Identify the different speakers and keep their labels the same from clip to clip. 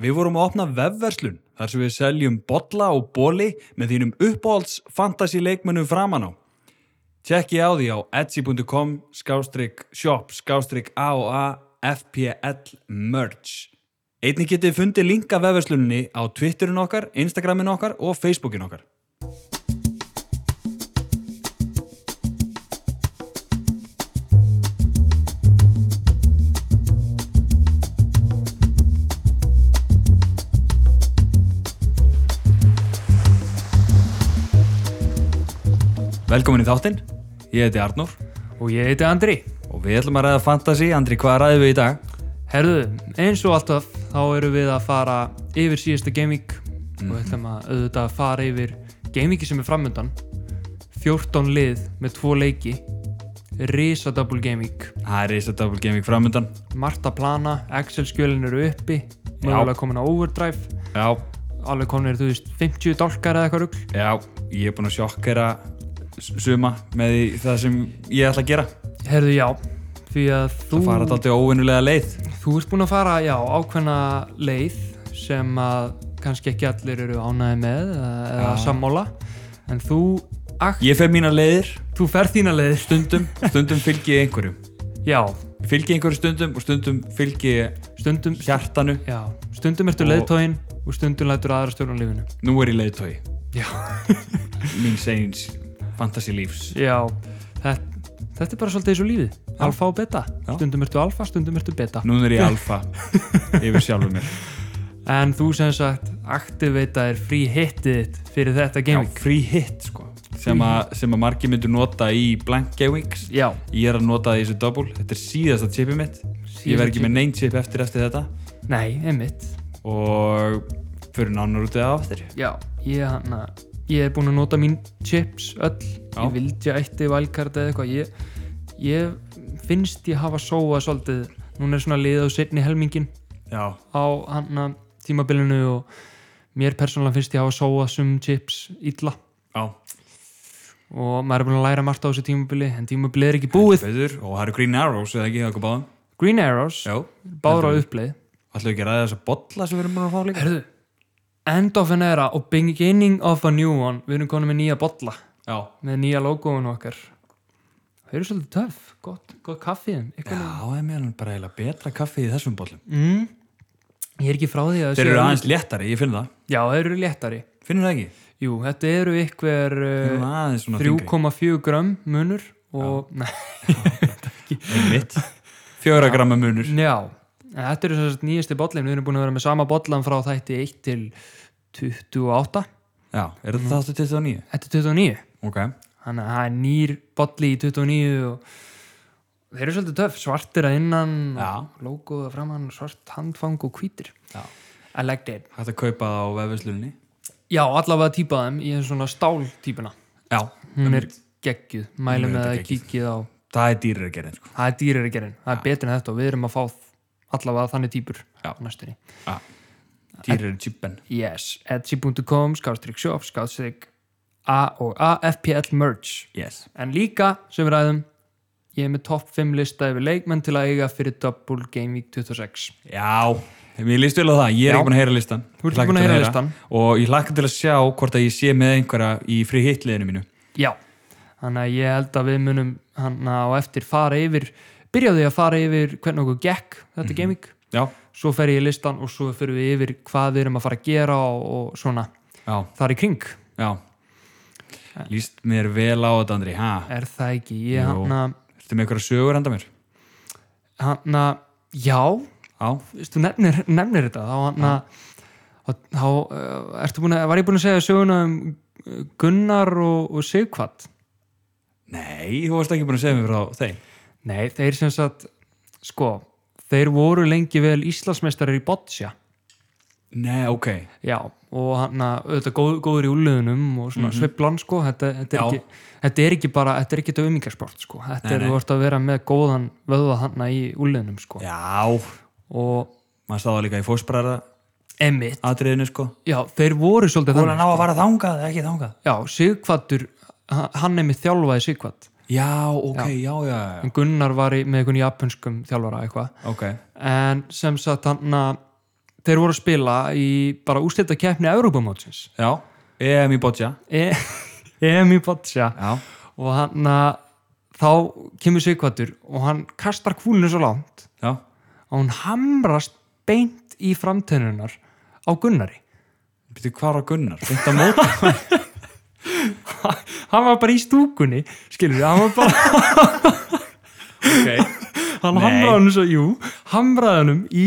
Speaker 1: Við vorum að opna vefverslun þar sem við seljum bolla og bóli með þínum uppáhalds fantasy leikmönnum framan á. Tjekki á því á etsy.com skástrík shop skástrík AOA FPL merch. Einnig getið fundið linka vefverslunni á Twitterin okkar, Instagramin okkar og Facebookin okkar. Velkomin í þáttinn, ég heiti Arnór
Speaker 2: Og ég heiti Andri.
Speaker 1: og við ætlum að ræða fantasy. Andri, hvað ræðum við í dag?
Speaker 2: Herðu, eins og alltaf þá erum við að fara yfir síðasta gaming og
Speaker 1: Mhm.
Speaker 2: ætlum að auðvitað fara yfir gamingi sem er framöndan 14 lið með tvo leiki Risa Double Gaming
Speaker 1: Það er Risa Double Gaming framöndan.
Speaker 2: Marta plana, Excel skjölin eru uppi mögulega komin á Overdrive
Speaker 1: Já,
Speaker 2: alveg komin er þú veist 50 dálkar eða eitthvað rugl
Speaker 1: já, ég er búin að sjokkera s- suma með því það sem ég ætla að gera.
Speaker 2: Herðu, já því að þú,
Speaker 1: Það fara alltaf óvinnulega leið.
Speaker 2: þú ert búin að fara já, ákveðna leið sem að kannski ekki allir eru ánæði með eða- eða sammála en þú, akt,
Speaker 1: Ég fer mína leiðir
Speaker 2: þú ferð þína leið
Speaker 1: stundum, stundum fylgi ég einhverjum.
Speaker 2: já,
Speaker 1: Fylgi einhverjum stundum og stundum fylgi ég
Speaker 2: stundum
Speaker 1: hjartanu.
Speaker 2: já, stundum ertu
Speaker 1: Og-
Speaker 2: leiðtógin og stundum lætur aðra stjórnum lífinu
Speaker 1: Nú er ég leiðtói.
Speaker 2: Já.
Speaker 1: Mín seins fantasy lífs.
Speaker 2: já, þetta, þetta er bara svolítið eins og lífið, alfa og beta
Speaker 1: Já.
Speaker 2: stundum ertu alfa, stundum ertu beta
Speaker 1: Nú er ég alfa yfir sjálfur mér.
Speaker 2: en þú sem sagt aktivitaðir frí hittið þitt fyrir þetta
Speaker 1: Já,
Speaker 2: gaming
Speaker 1: free hit sko. Sem, a, sem að margir myndur nota í blank gamings.
Speaker 2: já,
Speaker 1: Ég er að nota það í þessu double. Þetta er síðasta chipið mitt. ég verð ekki með neyn chip eftir eftir þetta.
Speaker 2: nei, einmitt
Speaker 1: og fyrir nánar út eða aftur
Speaker 2: Já, ég, hana, ég er búinn að nota mín chips öll
Speaker 1: Já.
Speaker 2: Ég vildi að ætti valkart eða eitthvað ég, ég finnst ég hafa sóað svolítið Núna er svona liðið á setni helmingin
Speaker 1: Já,
Speaker 2: á hana, tímabilinu og mér persónulega finnst ég hafa sóað sum chips illa
Speaker 1: já
Speaker 2: og maður er búinn að læra margt á þessu tímabili en tímabili er ekki búið
Speaker 1: Beður, og það eru Green Arrows eða ekki okkur báðum
Speaker 2: Green Arrows,
Speaker 1: Já
Speaker 2: báður á uppleið
Speaker 1: Ætlum við ekki að ræða þessa bolla sem við erum búin að fá líka
Speaker 2: Herðu, End of an Era og Beginning of a New One Við erum konum með nýja bolla
Speaker 1: Já
Speaker 2: með nýja logoinu okkar þau eru svolítið töf gott, gott kaffiðin
Speaker 1: Já,
Speaker 2: eitthvað
Speaker 1: það er mér bara eiginlega betra kaffi í þessum bollum
Speaker 2: mm, ég er ekki frá því að
Speaker 1: Þeir eru aðeins léttari, ég finn það
Speaker 2: já, þeir eru léttari
Speaker 1: Finnur það ekki?
Speaker 2: jú, þetta eru ykkur
Speaker 1: Þeir
Speaker 2: uh,
Speaker 1: eru aðeins svona þingri
Speaker 2: 3,4 gram munur og, já,
Speaker 1: Einmitt Fjögra gramma munur
Speaker 2: já en þetta eru þessast nýjasti bollin við erum búin að vera með sama bollan frá þætti 1 til 28
Speaker 1: Já, er þetta þáttu 29?
Speaker 2: þetta er 29
Speaker 1: Ok
Speaker 2: þannig að það er nýr bolli í 29 og þeir eru svolítið töf svartir að innan
Speaker 1: Já.
Speaker 2: og logoða framann og svart handfang og hvítir
Speaker 1: Já
Speaker 2: I liked it.
Speaker 1: Hægt að kaupa það á vefvislunni
Speaker 2: Já, allavega típa þeim, ég er svona stál típuna.
Speaker 1: Já
Speaker 2: Hún er geggjuð, mælum
Speaker 1: Hún er
Speaker 2: með að
Speaker 1: auðvitað Mm. geggjuð.
Speaker 2: kíkið á,
Speaker 1: Það er dýrir að gera sko
Speaker 2: það er dýrari gerinn, það er betur en þetta og við erum að fá allavega þannig típur
Speaker 1: Já.
Speaker 2: á næstunni.
Speaker 1: Dýrir er chippen
Speaker 2: Yes, etsy.com, skástrík shop, skástrík A og A, FPL merch.
Speaker 1: Yes
Speaker 2: En líka, sem við ræðum, ég er með topp 5 lista yfir leikmenn til að eiga fyrir Double Game Week 26.
Speaker 1: Já, mér líst vel á það, ég er
Speaker 2: Já.
Speaker 1: ekki búin að heyra listan
Speaker 2: Þú ert
Speaker 1: Ég hlakka
Speaker 2: ekki búin að
Speaker 1: til
Speaker 2: heyra listan.
Speaker 1: Og ég hlakka til að sjá hvort að ég sé með einhverja í frí hitliðinu mínu
Speaker 2: Já, þannig að ég held að við munum hann á eftir fara yfir byrjaði að fara yfir hvernig okkur gekk þetta
Speaker 1: Mhm.
Speaker 2: gaming,
Speaker 1: Já,
Speaker 2: svo fer ég í listan og svo fyrir við yfir hvað við erum að fara að gera og, og svona
Speaker 1: já,
Speaker 2: þar í kring
Speaker 1: já Líst mér vel á þetta, Andri ha,
Speaker 2: er það ekki, ég
Speaker 1: Jú.
Speaker 2: hann að
Speaker 1: Ertu með einhverja sögur handa mér?
Speaker 2: hann að, já
Speaker 1: Já,
Speaker 2: veist, þú nefnir, nefnir þetta þá hann að þá, þá eh, ertu búin að, var ég búin að segja söguna um eh, Gunnar og, og Sigvart
Speaker 1: nei, þú varst ekki búin að segja mér frá þeim
Speaker 2: Nei, þeir sem sagt sko, þeir voru lengi vel Íslandsmeistarar í Boccia
Speaker 1: Nei, ok,
Speaker 2: Já, og hann að auðvitað góð, góður í úliðunum og svona mm sko, þetta, þetta, er
Speaker 1: Mhm. Já.
Speaker 2: ekki, þetta er ekki bara, þetta er ekki dömingasport sko, þetta
Speaker 1: Nei,
Speaker 2: er
Speaker 1: nei.
Speaker 2: þú ert að vera með góðan vöða hann í úliðunum sko
Speaker 1: já
Speaker 2: og
Speaker 1: Maður stáða líka í fósbræðra
Speaker 2: Emmitt,
Speaker 1: atriðinu sko
Speaker 2: já, þeir voru svolítið
Speaker 1: Búin að
Speaker 2: þannig,
Speaker 1: ná að fara þangað, eða ekki þangað
Speaker 2: já, Sigvattur hann er með þjálfaði Sigvatt
Speaker 1: Já, ok, já, já, já,
Speaker 2: en Gunnar var í, með einhvern japanskum þjálfara eitthvað
Speaker 1: ok
Speaker 2: en sem sagt hann að þeir voru að spila í bara úrslita keppni Evrópamótsins
Speaker 1: Já, EM í Boccia
Speaker 2: e EM í Boccia
Speaker 1: Já,
Speaker 2: og hann að þá kemur Sigvartur og hann kastar kúlinu svo langt
Speaker 1: já,
Speaker 2: að hún hamrast beint í framtennunar á Gunnari
Speaker 1: byrju hvar á Gunnar Beint á móti
Speaker 2: hann var bara í stúkunni skilur við, hann var bara
Speaker 1: okay.
Speaker 2: hann
Speaker 1: Nei.
Speaker 2: hamraði hann svo, jú, hamraði hann í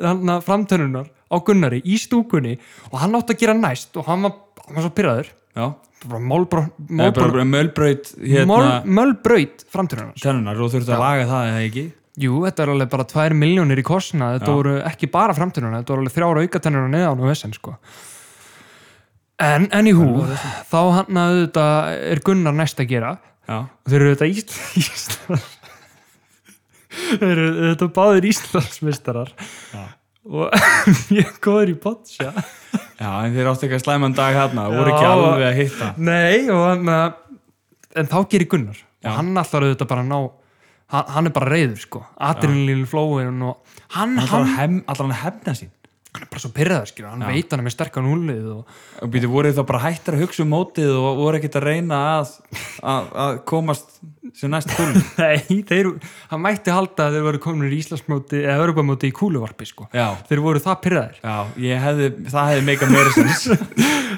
Speaker 2: hann framtennunar á Gunnari í stúkunni og hann átti að gera næst og hann var, hann var svo pyrraður
Speaker 1: Já,
Speaker 2: bara málbró,
Speaker 1: það er bara,
Speaker 2: málbró,
Speaker 1: bara mölbraut
Speaker 2: hérna...
Speaker 1: hérna
Speaker 2: mölbraut framtennunar
Speaker 1: tennunar og þurfti að laga það eða ekki
Speaker 2: jú, þetta er alveg bara 2 miljónir í kostna þetta voru ekki bara framtennunar, þetta voru alveg þrjára aukatennunar neðan og vesen sko en, en í hú þá hann að þetta er Gunnar næst að gera
Speaker 1: Já,
Speaker 2: og þeir eru auðvitað Ísl... Íslands þeir eru auðvitað báðir Íslandsmeistarar
Speaker 1: Já.
Speaker 2: og mjög góður í bottsja
Speaker 1: já en þeir áttu eitthvað slæman dag hérna Það voru ekki
Speaker 2: Já.
Speaker 1: alveg að hitta
Speaker 2: nei og hann að- en þá gerir Gunnar
Speaker 1: Já.
Speaker 2: og hann allar auðvitað bara að ná hann, hann er bara reyður sko adrenalín flóin og hann,
Speaker 1: Hann
Speaker 2: hann,
Speaker 1: ætlar að hem- ætlar hann að hefna sín
Speaker 2: hann er bara svo pyrraður skilur hann veit hann er með sterkan úlið og
Speaker 1: og býtu voru þið þá bara hættir að hugsa um mótið og voru ekkert að reyna að, að, að komast sem næst kúlun
Speaker 2: nei, þeir, hann mætti halda að þeir voru komin í Íslandsmóti eða Örubamóti í kúluvarpi sko
Speaker 1: já,
Speaker 2: þeir voru það pyrraður
Speaker 1: já, ég hefði það hefði meika meira sinns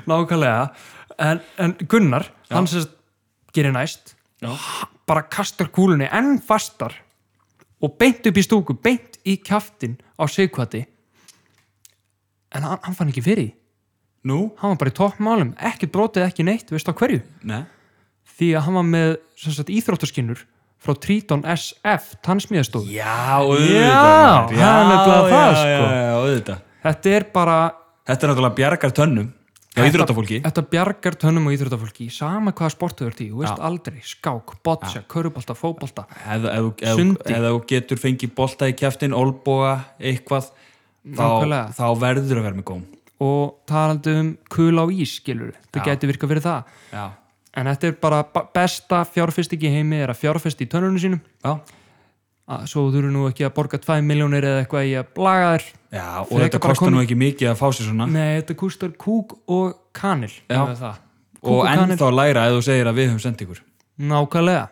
Speaker 2: Nákvæmlega En, en Gunnar, hann sem sagt gerir næst
Speaker 1: Já.
Speaker 2: bara kastar kúlunni enn fastar og beint upp í stúku beint í kjaftin á sigkvati en hann, hann fann ekki fyrir því.
Speaker 1: nú,
Speaker 2: hann var bara í toppmálum, ekkert brotið ekki neitt veist á hverju,
Speaker 1: ne,
Speaker 2: því að hann var með sem sagt, íþróttaskinnur frá Triton SF tannsmíðastofu
Speaker 1: já,
Speaker 2: Já,
Speaker 1: maður.
Speaker 2: það er
Speaker 1: já,
Speaker 2: nefnilega það,
Speaker 1: já,
Speaker 2: sko.
Speaker 1: já, já, auðvitað
Speaker 2: þetta er bara
Speaker 1: þetta er náttúrulega bjargar tönnum á íþróttafólki
Speaker 2: Þetta bjargar tönnum og íþróttafólki sama hvaða sportu þú ert í, þú veist
Speaker 1: Já.
Speaker 2: aldrei skák, bottsja, körubolta, fótbolta
Speaker 1: ef ef- ef- ef-
Speaker 2: Sundi.
Speaker 1: ef þú getur fengið bolta í kjæftin, olboga, eitthvað þá,
Speaker 2: Nákvæmlega.
Speaker 1: þá verður að vera með góm
Speaker 2: og talandi um kula á ís, skilur það
Speaker 1: Já.
Speaker 2: gæti virka fyrir það
Speaker 1: já,
Speaker 2: en þetta er bara ba- besta fjárfesting í heimi er að fjárfesti í tönnunum sínum
Speaker 1: já,
Speaker 2: að, svo þú eru nú ekki að borga 2 miljónir eða eitthvað í að blaga þér
Speaker 1: já og
Speaker 2: Frekar
Speaker 1: þetta
Speaker 2: bara
Speaker 1: kostar
Speaker 2: komið-
Speaker 1: nú ekki mikið að fá sér svona
Speaker 2: nei, þetta kostar kúk og kanil
Speaker 1: Já.
Speaker 2: eða það. Kúk
Speaker 1: og
Speaker 2: kanil.
Speaker 1: ennþá læra ef þú segir að við höfum sendt ykkur
Speaker 2: nákvæmlega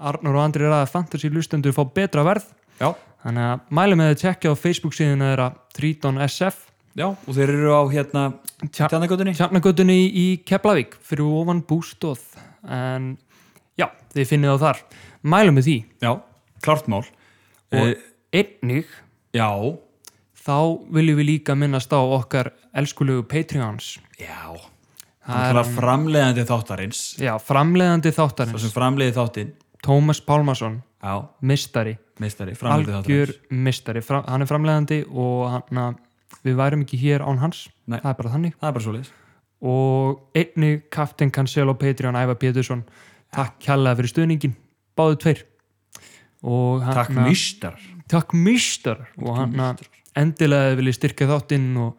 Speaker 2: Arnur og Andri ræða fantasy lustendur fá betra verð
Speaker 1: já,
Speaker 2: þannig að mæli með þið tjekkja á Facebook síðan þeirra Triton SF
Speaker 1: Já, og þeir eru á hérna
Speaker 2: Tja-
Speaker 1: Tjarnagötunni
Speaker 2: Tjarnagötunni í Keflavík fyrir ofan bústóð en já, þið finnið þá þar mælum við því
Speaker 1: Já, klart mál Eh,
Speaker 2: og einnig
Speaker 1: Já,
Speaker 2: þá viljum við líka minnast á okkar elskulegu Patreons
Speaker 1: já
Speaker 2: Það
Speaker 1: Það er framleiðandi þáttarins
Speaker 2: já, framleiðandi
Speaker 1: Það
Speaker 2: þáttarins
Speaker 1: sem framleiði þáttinn
Speaker 2: Tómas Pálmarsson,
Speaker 1: Já,
Speaker 2: mistari
Speaker 1: meistari, framleiði
Speaker 2: algjör
Speaker 1: þáttarins
Speaker 2: mistari, Fra, hann er framleiðandi og hann að við værum ekki hér án hans
Speaker 1: Nei.
Speaker 2: það er bara þannig
Speaker 1: Það er bara svoleiðis
Speaker 2: og einnig Captain Cancelo Patreon Ævar Pétursson takk kjallaði fyrir stuðningin, báðu tveir og hann
Speaker 1: Takk
Speaker 2: að-
Speaker 1: mistar
Speaker 2: takk mistar og hann að endilega vilja styrka þáttinn og,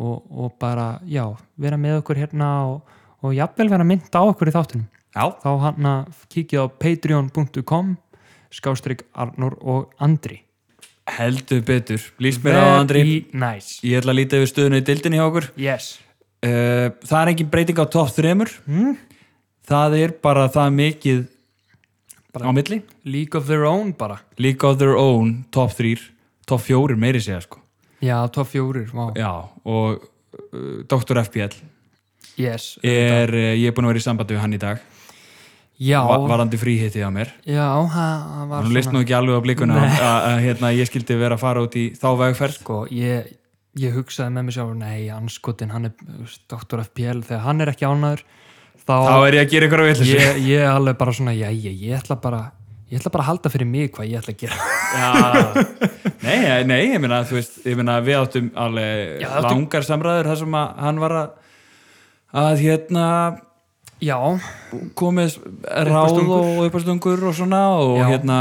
Speaker 2: og, og bara já, vera með okkur hérna og, og jafnvel vera mynd á okkur í þáttunum
Speaker 1: Já,
Speaker 2: þá hann að kikið á patreon.com skástrík Arnur og Andri
Speaker 1: heldur betur Lýst mér á það, Andri
Speaker 2: Very nice.
Speaker 1: Ég ætla að líta yfir stöðuna í dildinni hjá okkur
Speaker 2: yes.
Speaker 1: Eh, Það er engin breyting á topp þremur Það er bara það mikið á milli
Speaker 2: League of their own bara
Speaker 1: League of their own, topp þrýr topp fjórir meiri segja sko
Speaker 2: já, top fjórir, vá
Speaker 1: Já, og uh, Dr. FPL
Speaker 2: yes.
Speaker 1: er, uh, ég er búin að vera í sambandi við hann í dag
Speaker 2: já,
Speaker 1: Va varandi fríhitti á mér
Speaker 2: já, það það var
Speaker 1: hann leist nú ekki alveg á blikuna að- að að, hérna, ég skildi vera að fara út í þá vegferð
Speaker 2: sko, ég, ég hugsaði með mér sjálf nei, anskotin, hann er þú veist, Dr. FPL, þegar hann er ekki ánæður þá,
Speaker 1: þá er ég að gera ykkur að vitlega
Speaker 2: ég, ég er alveg bara svona, já, ég, ég ætla bara ég ætla bara að halda fyrir mig hvað ég ætla að gera
Speaker 1: nei, eh, nei, ég meina, þú veist ég meina, við áttum alveg
Speaker 2: Já, áttum-
Speaker 1: langar samræður þar sem að hann var að að hérna
Speaker 2: já,
Speaker 1: komið ráð
Speaker 2: Uppástungur.
Speaker 1: og uppastungur og svona og
Speaker 2: Já.
Speaker 1: hérna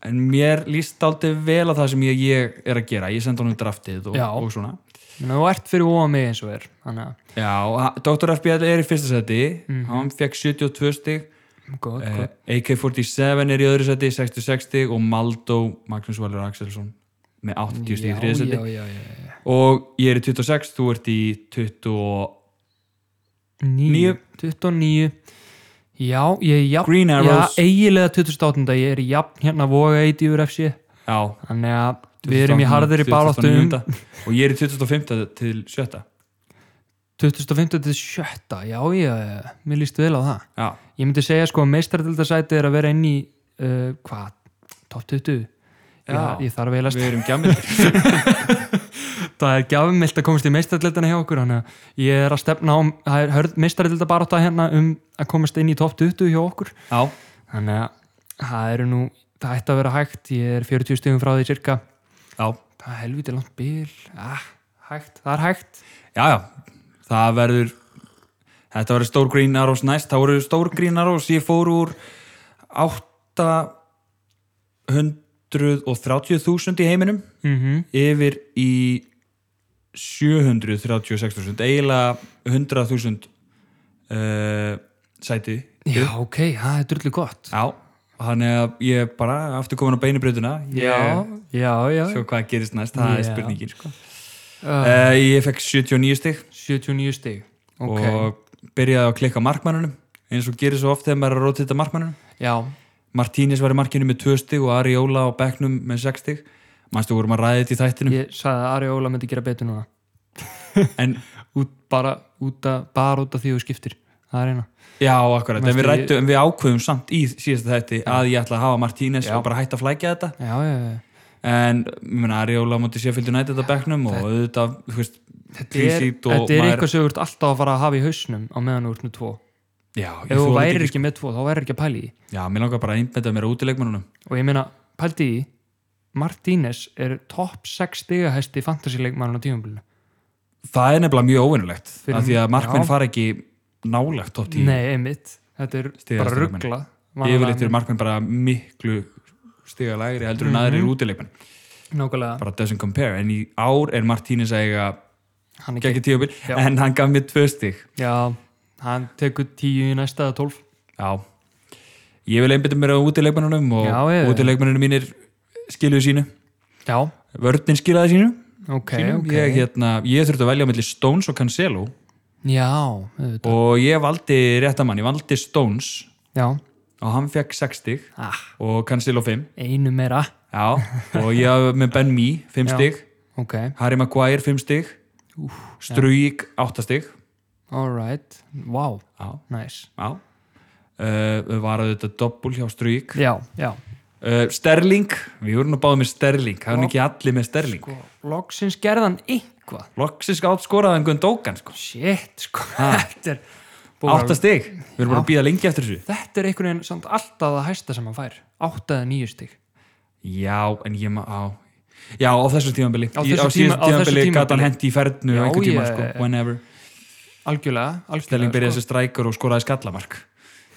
Speaker 1: en mér líst aldrei vel á það sem ég, ég er að gera, ég senda honum draftið og,
Speaker 2: Já.
Speaker 1: og svona
Speaker 2: menn þú ert fyrir óa mig eins og er þannig að,
Speaker 1: Já, ha- Dr. FBL er í fyrsta seti
Speaker 2: Mhm.
Speaker 1: hann fekk 72 stig
Speaker 2: gott,
Speaker 1: eh,
Speaker 2: gott
Speaker 1: AK47 er í öðru seti 66 stig og Maldó Magnús Valur Axelsson með 80 stig í
Speaker 2: já,
Speaker 1: þriða seti
Speaker 2: já, já, já, já.
Speaker 1: og ég er í 26, þú ert í 20 og... Níu.
Speaker 2: 9, 29 Já, ég er jafn
Speaker 1: Green Arrows.
Speaker 2: Já, eiginlega 2018 ég er jafn hérna voga eitt yfir FC
Speaker 1: Já,
Speaker 2: Þannig að við erum í um- harðir í
Speaker 1: 2008,
Speaker 2: baráttum
Speaker 1: 2009. og ég er í 2005 til 7
Speaker 2: 2015 til 7 Já, ég, mér líst vel á það
Speaker 1: Já,
Speaker 2: Ég myndi segja sko að meistardildasæti er að vera inn í uh, hvað, top 20
Speaker 1: Já.
Speaker 2: ég, ég þarf eiginlega
Speaker 1: við erum gjamil
Speaker 2: það er gjafumilt að komast í meistarildana hjá okkur þannig að ég er að stefna á það er hörð meistarildar hérna um að komast inn í topp 20 hjá okkur
Speaker 1: Já,
Speaker 2: þannig að það eru nú það ætti að vera hægt, ég er 40 stugum frá því cirka
Speaker 1: já,
Speaker 2: það er helviti langt bil ah, hægt, það er hægt
Speaker 1: já, já það verður þetta verður stór Green Arrows næst það voru stór Green Arrows, ég fór úr 830.000 í heiminum
Speaker 2: mm
Speaker 1: Mhm. yfir í 736.000 eiginlega 100.000 uh, sæti
Speaker 2: já ok, það er drullu gott
Speaker 1: Já, þannig að ég er bara aftur komin á beinibröðuna
Speaker 2: já, já, já
Speaker 1: Svo hvað gerist næst, það er
Speaker 2: Já.
Speaker 1: spurningin sko.
Speaker 2: uh,
Speaker 1: uh, Ég fekk 79 stig
Speaker 2: 79 stig ok,
Speaker 1: og byrjaði að klikka á markmannunum eins og gerir svo oft þegar maður er að róta þetta markmannunum
Speaker 2: já
Speaker 1: Martínis var í markinu með 2 stig og Ari Óla á bekknum með 6 stig Manstu vorum að ræði þetta í þættinum
Speaker 2: ég sagði að Ari Óla myndi gera betur núna
Speaker 1: En
Speaker 2: út, bara, út að, bara út af því þú skiptir það er eina
Speaker 1: já, akkurat, en við,
Speaker 2: Manstu ég-
Speaker 1: rættu, en við ákveðum samt í síðasta þætti að ég ætla að hafa Martínes
Speaker 2: Já.
Speaker 1: og bara hætta að flækja þetta
Speaker 2: já, já, já
Speaker 1: en ég meina, Ari Óla múti séfildi nætt þetta bekknum og auðvitað, þú veist,
Speaker 2: Þetta er,
Speaker 1: tvísýtt og
Speaker 2: þetta er
Speaker 1: maður-
Speaker 2: eitthvað sem þú ert alltaf að fara að hafa í hausnum á meðan þú ert með tvo
Speaker 1: Já, ég
Speaker 2: ef þú
Speaker 1: þoli þetta
Speaker 2: værir ekki með tvo þá værir ekki að pæli í því.
Speaker 1: Já, mér langar bara að einbetta mér út í leikmannunum
Speaker 2: og ég meina, pældi í Martínez er topp 6 stigahæsti fantasíleikmann á tíumbilinu
Speaker 1: Það er nefnilega mjög óvinnulegt
Speaker 2: Fyrir-
Speaker 1: af því að markmenn
Speaker 2: já.
Speaker 1: fara ekki nálægt top 10
Speaker 2: nei, einmitt, þetta er
Speaker 1: Stigahæsti
Speaker 2: bara
Speaker 1: leikmenn.
Speaker 2: ruggla
Speaker 1: Yfirleitt eru markmenn bara miklu stiga lægri heldur en aðrir út í leikmann
Speaker 2: nákvæmlega
Speaker 1: bara doesn't compare, en í ár er Martínez að eiga
Speaker 2: hann er
Speaker 1: gegn tíubil
Speaker 2: Já.
Speaker 1: en hann gaf mér tvö stig
Speaker 2: já, hann tekur 10 í næsta eða 12
Speaker 1: Já, ég vil einbetta mér út í leikmannunum og
Speaker 2: Já, ég-
Speaker 1: út í leikmannunum mínir skiluðu sínu
Speaker 2: já,
Speaker 1: Vörninn skilaði sínu
Speaker 2: ok,
Speaker 1: sínum.
Speaker 2: ok
Speaker 1: Ég, hérna, ég þurfti að velja mellir Stones og Cancelo
Speaker 2: já, auðvitað.
Speaker 1: og ég valdi réttamann, ég valdi Stones
Speaker 2: já,
Speaker 1: og hann fekk 6 stig
Speaker 2: ah,
Speaker 1: og Cancelo 5
Speaker 2: einu meira
Speaker 1: já, og ég hafði með Ben Mee 5
Speaker 2: Já.
Speaker 1: stig,
Speaker 2: ok,
Speaker 1: Harry Maguire 5 stig Struík 8 stig
Speaker 2: alright wow,
Speaker 1: já,
Speaker 2: nice
Speaker 1: já uh, var þetta doppul hjá Struík
Speaker 2: já, já
Speaker 1: uh, Sterling, við vorum nú báðið með Sterling það er nú ekki allir með Sterling
Speaker 2: sko, loksins gerðan eitthvað
Speaker 1: Loksins átt skoraðan Gundókan sko.
Speaker 2: shit, sko,
Speaker 1: Ha.
Speaker 2: þetta er búið að-
Speaker 1: 8 stig, við erum bara að býða lengi eftir þessu
Speaker 2: þetta er einhvern veginn samt alltaf að hæsta sem hann fær 8 eða 9 stig
Speaker 1: já, en ég maður á Já, á þessu tímanbili.
Speaker 2: Á þessu tíma- á þessu
Speaker 1: tímanbili gæti hann
Speaker 2: tímabili.
Speaker 1: hendi í fernu
Speaker 2: Já,
Speaker 1: einhvern tíma,
Speaker 2: ég-
Speaker 1: sko, whenever.
Speaker 2: algjörlega, sko.
Speaker 1: Stelling
Speaker 2: algjörlega
Speaker 1: byrjaði þessi strækur og skoraði skallamark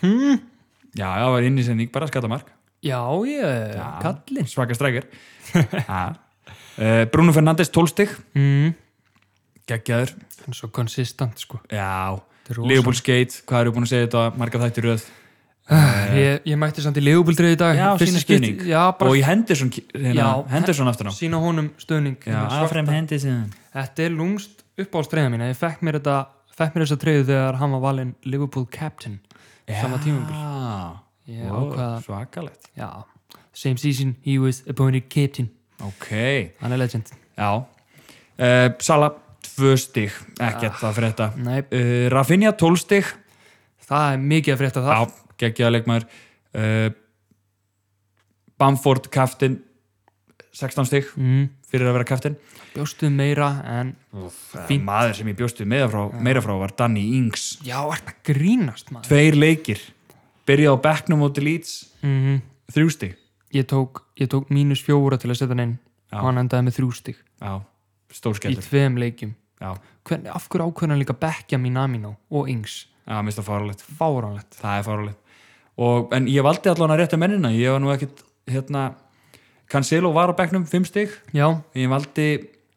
Speaker 1: hmm? Já, já, það var innisending bara skallamark
Speaker 2: já, ég, kallinn
Speaker 1: Svaka strækir uh, Bruno Fernandes 12 stig
Speaker 2: mm,
Speaker 1: Geggjaður
Speaker 2: hann er svo konsistant sko
Speaker 1: Já,
Speaker 2: er rosa.
Speaker 1: Leopold Skate, hvað eru búin að segja þetta marga þættir röð
Speaker 2: ég, ég mætti samt í legubildrið í dag
Speaker 1: Já,
Speaker 2: fyrsta
Speaker 1: sína
Speaker 2: skipti.
Speaker 1: stuðning.
Speaker 2: já,
Speaker 1: Og
Speaker 2: bara
Speaker 1: í Henderson, hérna,
Speaker 2: Já,
Speaker 1: Henderson aftur á
Speaker 2: sína honum stöðning Hérna, svarta.
Speaker 1: Henderson
Speaker 2: þetta er lungst upp á streyða mína ég fekk mér þetta fekk mér þessa treyðu þegar hann var valinn Liverpool captain sama tímabil Ég ákvað að-
Speaker 1: Svakalegt
Speaker 2: já, same season he was appointed captain
Speaker 1: Ok,
Speaker 2: hann er legend
Speaker 1: já uh, Sala 2 stig, ekkert það fyrir þetta
Speaker 2: Nei,
Speaker 1: uh, Rafinha 12 stig
Speaker 2: það er mikið að frétta það
Speaker 1: Já, geggjaða leikmaður uh, Bamford kaftin 16 stig
Speaker 2: mm,
Speaker 1: fyrir að vera kaftin
Speaker 2: bjóstu meira en Fínt.
Speaker 1: eh, maður sem ég bjóstu meira frá, meira frá var Danny Ings
Speaker 2: já, ert að grínast maður
Speaker 1: tveir leikir, byrjaði á bekknum og til Leeds,
Speaker 2: mm
Speaker 1: þrjú stig
Speaker 2: ég, tók, ég tók mínus fjóra til að setja hann inn
Speaker 1: Já.
Speaker 2: og hann endaði með þrjú stig
Speaker 1: já,
Speaker 2: í
Speaker 1: stórskellur
Speaker 2: tveim leikjum
Speaker 1: já,
Speaker 2: Hvern, af hverju ákveðan líka bekkja Minamino og Ings
Speaker 1: já, minnst það fáralegt
Speaker 2: fáránlegt
Speaker 1: það er fáralegt og, en ég valdi allan að rétta mennina ég var nú ekkit, hérna Cancelo var á bekknum, 5 stig
Speaker 2: já,
Speaker 1: ég valdi,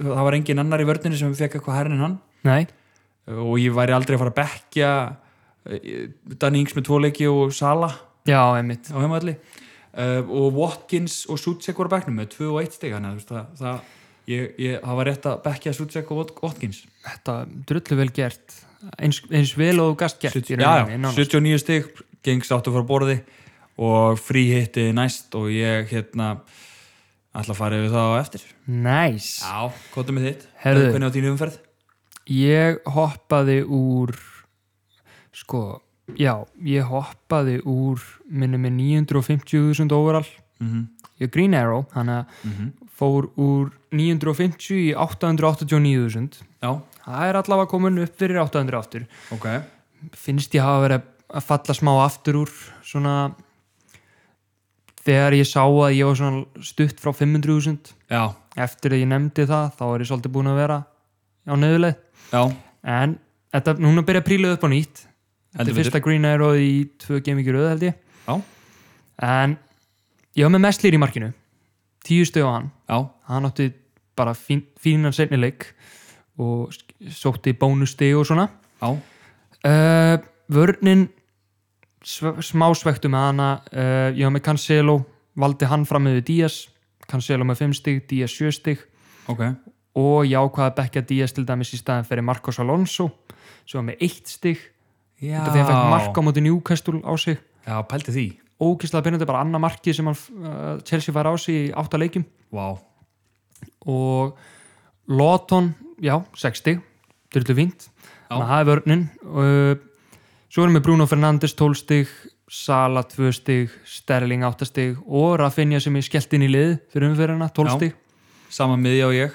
Speaker 1: það var engin annar í vördinni sem fekk eitthvað herrin hann
Speaker 2: nei,
Speaker 1: og ég væri aldrei að fara að bekkja eh, Danny Ings með tvo leiki og Sala á Eh,
Speaker 2: já, einmitt
Speaker 1: heimaðalli uh, og Watkins og Sucek voru á bekknum með 2 og 1 stig þannig að þú veist, það, það ég, ég hafa rétt að bekkja Sucek og Wat- Watkins
Speaker 2: Þetta er drullu vel gert eins, eins vel og þú gast gert
Speaker 1: Sjöt-
Speaker 2: í
Speaker 1: já, já,
Speaker 2: rauninni, nánast.
Speaker 1: 79 stig gengs áttu frá borði og frí hitti næst og ég hérna ætla að fara yfir það á eftir
Speaker 2: Næs
Speaker 1: Já, hvað er með þitt?
Speaker 2: Herðu.
Speaker 1: Hvernig á þínu umferð?
Speaker 2: Ég hoppaði úr sko, já ég hoppaði úr minni með 950.000 overall
Speaker 1: Mm -hmm.
Speaker 2: ég er Green Arrow, hann að fór úr 950 í 889.000
Speaker 1: Já,
Speaker 2: það er allavega komin upp fyrir 800 aftur
Speaker 1: ok
Speaker 2: finnst ég hafa verið að falla smá aftur úr svona þegar ég sá að ég var svona stutt frá 500.000
Speaker 1: Já,
Speaker 2: eftir að ég nefndi það þá er ég svolítið búin að vera á nöðuleið
Speaker 1: já,
Speaker 2: en þetta, núna byrja að príla upp á nýtt þetta
Speaker 1: Heldur
Speaker 2: er fyrsta Green Arrow í tvö gemikir auð held ég
Speaker 1: já,
Speaker 2: en ég var með mestlýr í markinu tíu stöð á hann
Speaker 1: já,
Speaker 2: hann átti bara fín, fínan seinni leik og sk- sótti bónusti og svona
Speaker 1: já
Speaker 2: uh, vörnin sv smá svektu með hana uh, ég var með Cancelo, valdi hann fram með Díaz, Cancelo með 5 stig Díaz 7 stig
Speaker 1: Ok,
Speaker 2: og ég ákvaði að bekka Díaz til dæmis í staðin fyrir Marcos Alonso sem var með 1 stig
Speaker 1: já
Speaker 2: þetta þegar fekk mark á móti Newcastle á sig
Speaker 1: Já, pældi því
Speaker 2: ógislega byrjandi bara annað marki sem hann, uh, Chelsea fær á sig í 8 leikum
Speaker 1: Vá,
Speaker 2: og Lawton, já, 60 drullu fínt
Speaker 1: Já.
Speaker 2: þannig að það er vörnin uh, svo erum við Bruno Fernandes 12 stig Sala 2 stig, Sterling 8 stig og Rafinha sem er skellt inn í lið fyrir umferðina, 12
Speaker 1: Já.
Speaker 2: stig
Speaker 1: sama miðja og ég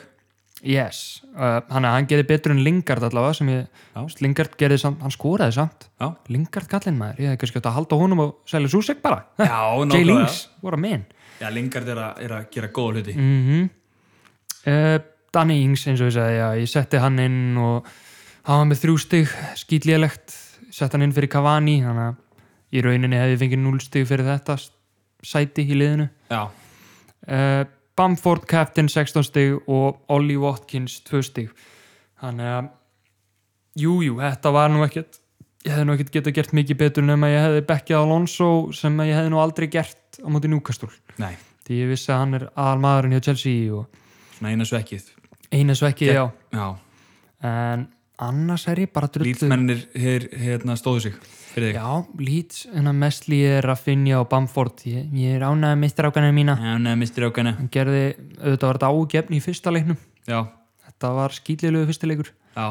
Speaker 2: yes, uh, hann, hann gerði betur en Lingard allavega sem ég,
Speaker 1: Já.
Speaker 2: Lingard gerði samt, hann skoraði samt
Speaker 1: Já,
Speaker 2: Lingard kallinn maður, ég hef kannski átt að halda honum og selja Susek bara,
Speaker 1: já,
Speaker 2: Jay
Speaker 1: nákvæmlega
Speaker 2: Lings, what a man
Speaker 1: Já, Lingard er, að- er að gera góða hluti
Speaker 2: mm Uh, Danny Ings eins og ég sagði, já, ég setti hann inn og hann var með þrjú stig skýtlélegt, sett hann inn fyrir Cavani þannig að í rauninni hefði ég fengið núl stig fyrir þetta s- sæti í liðinu
Speaker 1: Já,
Speaker 2: uh, Bamford Captain 16 stig og Ollie Watkins 2 stig þannig að jújú, jú, þetta var nú ekkert ég hefði nú ekkert getað gert mikið betur nema ég hefði bekkjað Alonso sem ég hefði nú aldrei gert á móti Newcastle
Speaker 1: nei,
Speaker 2: því ég vissi að hann er aðal maðurinn hjá Chelsea og
Speaker 1: svona eina svekkið
Speaker 2: eina svekkið, já
Speaker 1: Já,
Speaker 2: en annars er ég bara drullu
Speaker 1: lýtsmennir hérna stóðu sig fyrir þig
Speaker 2: já, lít, en að mest líði er að finja á Bamford, ég, ég er ánægði með strákana mína,
Speaker 1: Já, neða, mistur ákana
Speaker 2: hann gerði auðvitað var þetta ágefni í fyrsta leiknum
Speaker 1: Já,
Speaker 2: þetta var skýtlilegu fyrsta leikur
Speaker 1: já,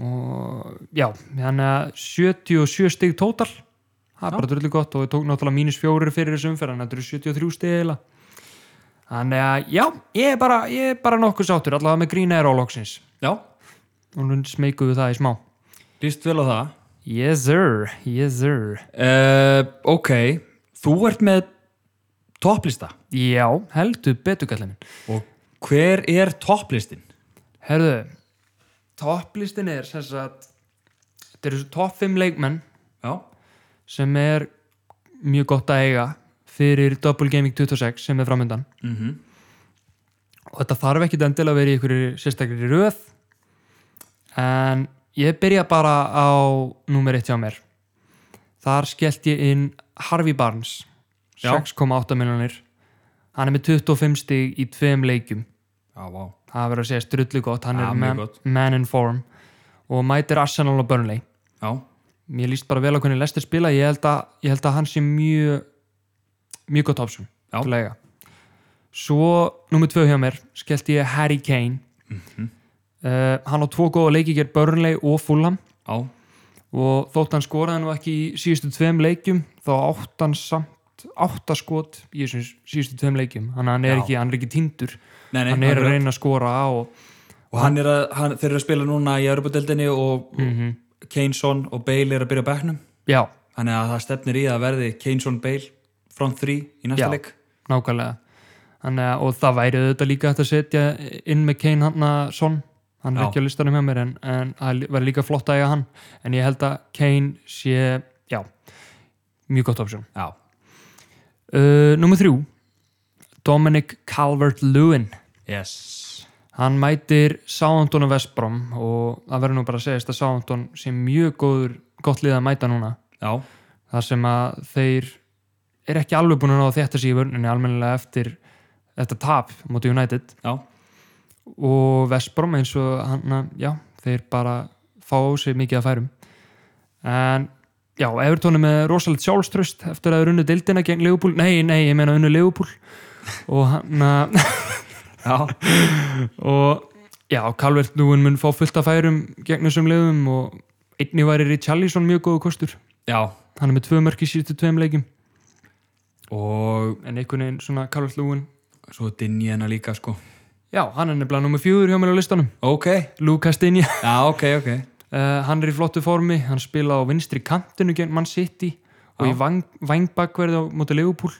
Speaker 2: og já, þannig að 77 stig tótal það er bara drullu gott og ég tók náttúrulega mínus fjórir fyrir þessu umferð, þannig að þetta eru 73 stig eila þannig að já, ég er bara, ég er bara nokkuð sáttur allavega með grína er álóksins
Speaker 1: já
Speaker 2: og nú smeykum við það í smá
Speaker 1: Lýst vel á það
Speaker 2: yes sir, yes sir
Speaker 1: uh, Ok, þú ert með topplista
Speaker 2: Já, heldur betur kallið minn.
Speaker 1: og hver er topplistin?
Speaker 2: Herðu, topplistin er sem sagt, þetta eru svo topp 5 leikmenn
Speaker 1: Já,
Speaker 2: sem er mjög gott að eiga fyrir Double Gaming 26 sem er framöndan
Speaker 1: mhm
Speaker 2: og þetta þarf ekki endilega að vera í einhverju sérstakri röð en ég byrja bara á númer 1 hjá mér þar skellt ég inn Harvey Barnes
Speaker 1: Já.
Speaker 2: 6,8 miljonir hann er með 25 stig í tveim leikjum
Speaker 1: Já, vá
Speaker 2: það verður að segja strullu gott hann
Speaker 1: Ja,
Speaker 2: er
Speaker 1: mjög
Speaker 2: man,
Speaker 1: gott.
Speaker 2: man in form og mætir Arsenal og Burnley
Speaker 1: Já,
Speaker 2: mér líst bara vel á hvernig Lester spila ég held að, ég held að hann sé mjög mjög gott option
Speaker 1: Já.
Speaker 2: til að eiga. svo nummer tvö hjá mér skellti ég Harry Kane
Speaker 1: Mhm.
Speaker 2: uh, hann á tvo góða leiki gerð Burnley og Fulham
Speaker 1: já,
Speaker 2: og þótt hann skoraði nú ekki í síðustu tveim leikjum þá átt hann samt átta skot í þessum síðustu tveim leikjum hann, hann, er,
Speaker 1: Já.
Speaker 2: ekki, hann er ekki tindur
Speaker 1: nei, nei
Speaker 2: hann er að
Speaker 1: akkurat.
Speaker 2: reyna að skora og
Speaker 1: og hann er að, hann, þeir eru að spila núna í Europadeldinni og mm -hmm. Keyneson og Bale er að byrja á bekknum
Speaker 2: já,
Speaker 1: þannig að það stefnir í að verði Keyneson Bale front 3 í
Speaker 2: Já.
Speaker 1: næsta leik
Speaker 2: nákvæmlega Þannig, að- og það væri auðvitað líka hægt að setja inn með Kane hann að Son hann er
Speaker 1: Já.
Speaker 2: ekki á listanum hjá mér en, en það væri líka flott að eiga hann en ég held að Kane sé já, mjög gott option
Speaker 1: Já,
Speaker 2: uh, Númer þrjú Dominic Calvert-Lewin
Speaker 1: yes
Speaker 2: hann mætir Southampton og Vestbrom og það verður nú bara að segja að Southampton sé mjög góður, gott lið að mæta núna
Speaker 1: Já,
Speaker 2: þar sem að þeir er ekki alveg búin að ná að þetta sig í vörninni almennilega eftir þetta tap mútið United
Speaker 1: já,
Speaker 2: og Vestbrom eins og hann, já, þeir bara fá á sig mikið að færum en já, Evertón er með rosalegt sjálfströst eftir að þeir unnu dildina gegn Leopold, nei, nei, ég meina unnu Leopold og hann að
Speaker 1: Já,
Speaker 2: og já, Calvert Lúin mun fá fullt að færum gegn þessum leiðum og einnig væri Richarlison mjög góðu kostur
Speaker 1: já
Speaker 2: hann er með tvö mörk í síðustu tveim leikum
Speaker 1: og
Speaker 2: en einhvern veginn svona Calvert Lúin
Speaker 1: svo dinni hennar líka sko
Speaker 2: já, hann er nefnilega nummer fjúður hjá mér á listanum
Speaker 1: Ok,
Speaker 2: Lucas Dinja
Speaker 1: já ok, ok
Speaker 2: Uh, hann er í flottu formi, hann spila á vinstri kantinu gegn Man City og
Speaker 1: Já.
Speaker 2: í vang, vangbakverði á móti Leopold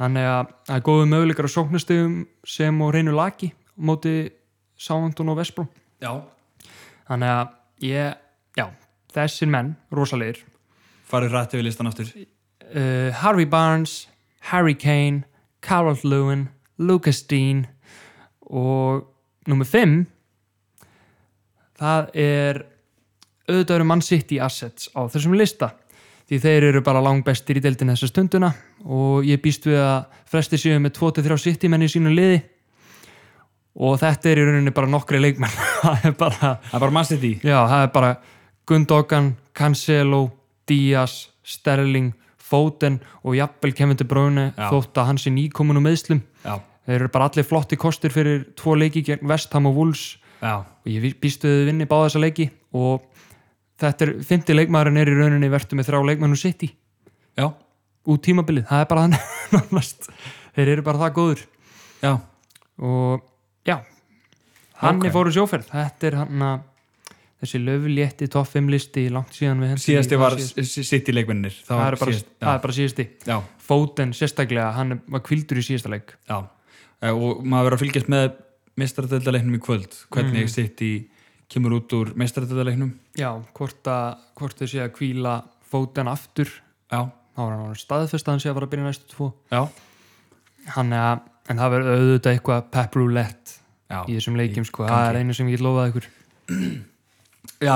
Speaker 2: hann er að það er góðu möguleikar á sóknastegum sem og reynu laki á móti Sáhandun og Vesbrú
Speaker 1: Já
Speaker 2: þannig að ég, já, þessir menn rosalegir,
Speaker 1: Farðu rætt yfir listan aftur
Speaker 2: uh, Harvey Barnes Harry Kane, Carol Lewin Lucas Dean og nummer 5 það er auðvitað eru mann sitt í assets á þessum lista því þeir eru bara langbestir í deildin þessa stunduna og ég býst við að fresti séu með 2-3 sitt í menni í sínu liði og þetta er í rauninni bara nokkri leikmenn það er bara
Speaker 1: Það er bara mann sitt í
Speaker 2: Já, það er bara Gundogan, Cancelo, Díaz, Sterling, Foden og jafnvel Kevin De Bruyne
Speaker 1: Já.
Speaker 2: þótt að hans er nýkominu meðslum.
Speaker 1: Já,
Speaker 2: Þeir eru bara allir flotti kostir fyrir tvo leiki gegn Vestham og Wolves
Speaker 1: já,
Speaker 2: og ég býst við að þau vinni báða þessa leiki og þetta er, fymti leikmaðurinn er í rauninni vertu með þrjá leikmannu sitt í
Speaker 1: já,
Speaker 2: út tímabilið, það er bara hann nánast. Þeir eru bara það góður
Speaker 1: já
Speaker 2: og já hann
Speaker 1: Ok.
Speaker 2: er fóru sjóferð, þetta er hann að þessi löflétti topp 5 listi langt síðan við hentum í-
Speaker 1: Síðasti var
Speaker 2: síðast.
Speaker 1: sitt í leikmennir
Speaker 2: það er bara, það er bara síðasti
Speaker 1: Já,
Speaker 2: Foden sérstaklega, hann er- var kvildur í síðasta leik
Speaker 1: já Eh, Og maður verður að fylgjast með mestaradöldaleiknum í kvöld Hvernig mm. sitt í kemur út úr mestaradöldaleiknum
Speaker 2: já, hvort, að, hvort þau sé að kvíla Foden aftur
Speaker 1: Já,
Speaker 2: þá var hann orðinn staðfest að hann sé að fara að byrja næstu tvo
Speaker 1: já,
Speaker 2: hann er að, en það verður auðvitað eitthvað pep roulette
Speaker 1: já
Speaker 2: í þessum leikjum sko,
Speaker 1: gangi.
Speaker 2: það er einu sem ég get lofað ykkur
Speaker 1: Já,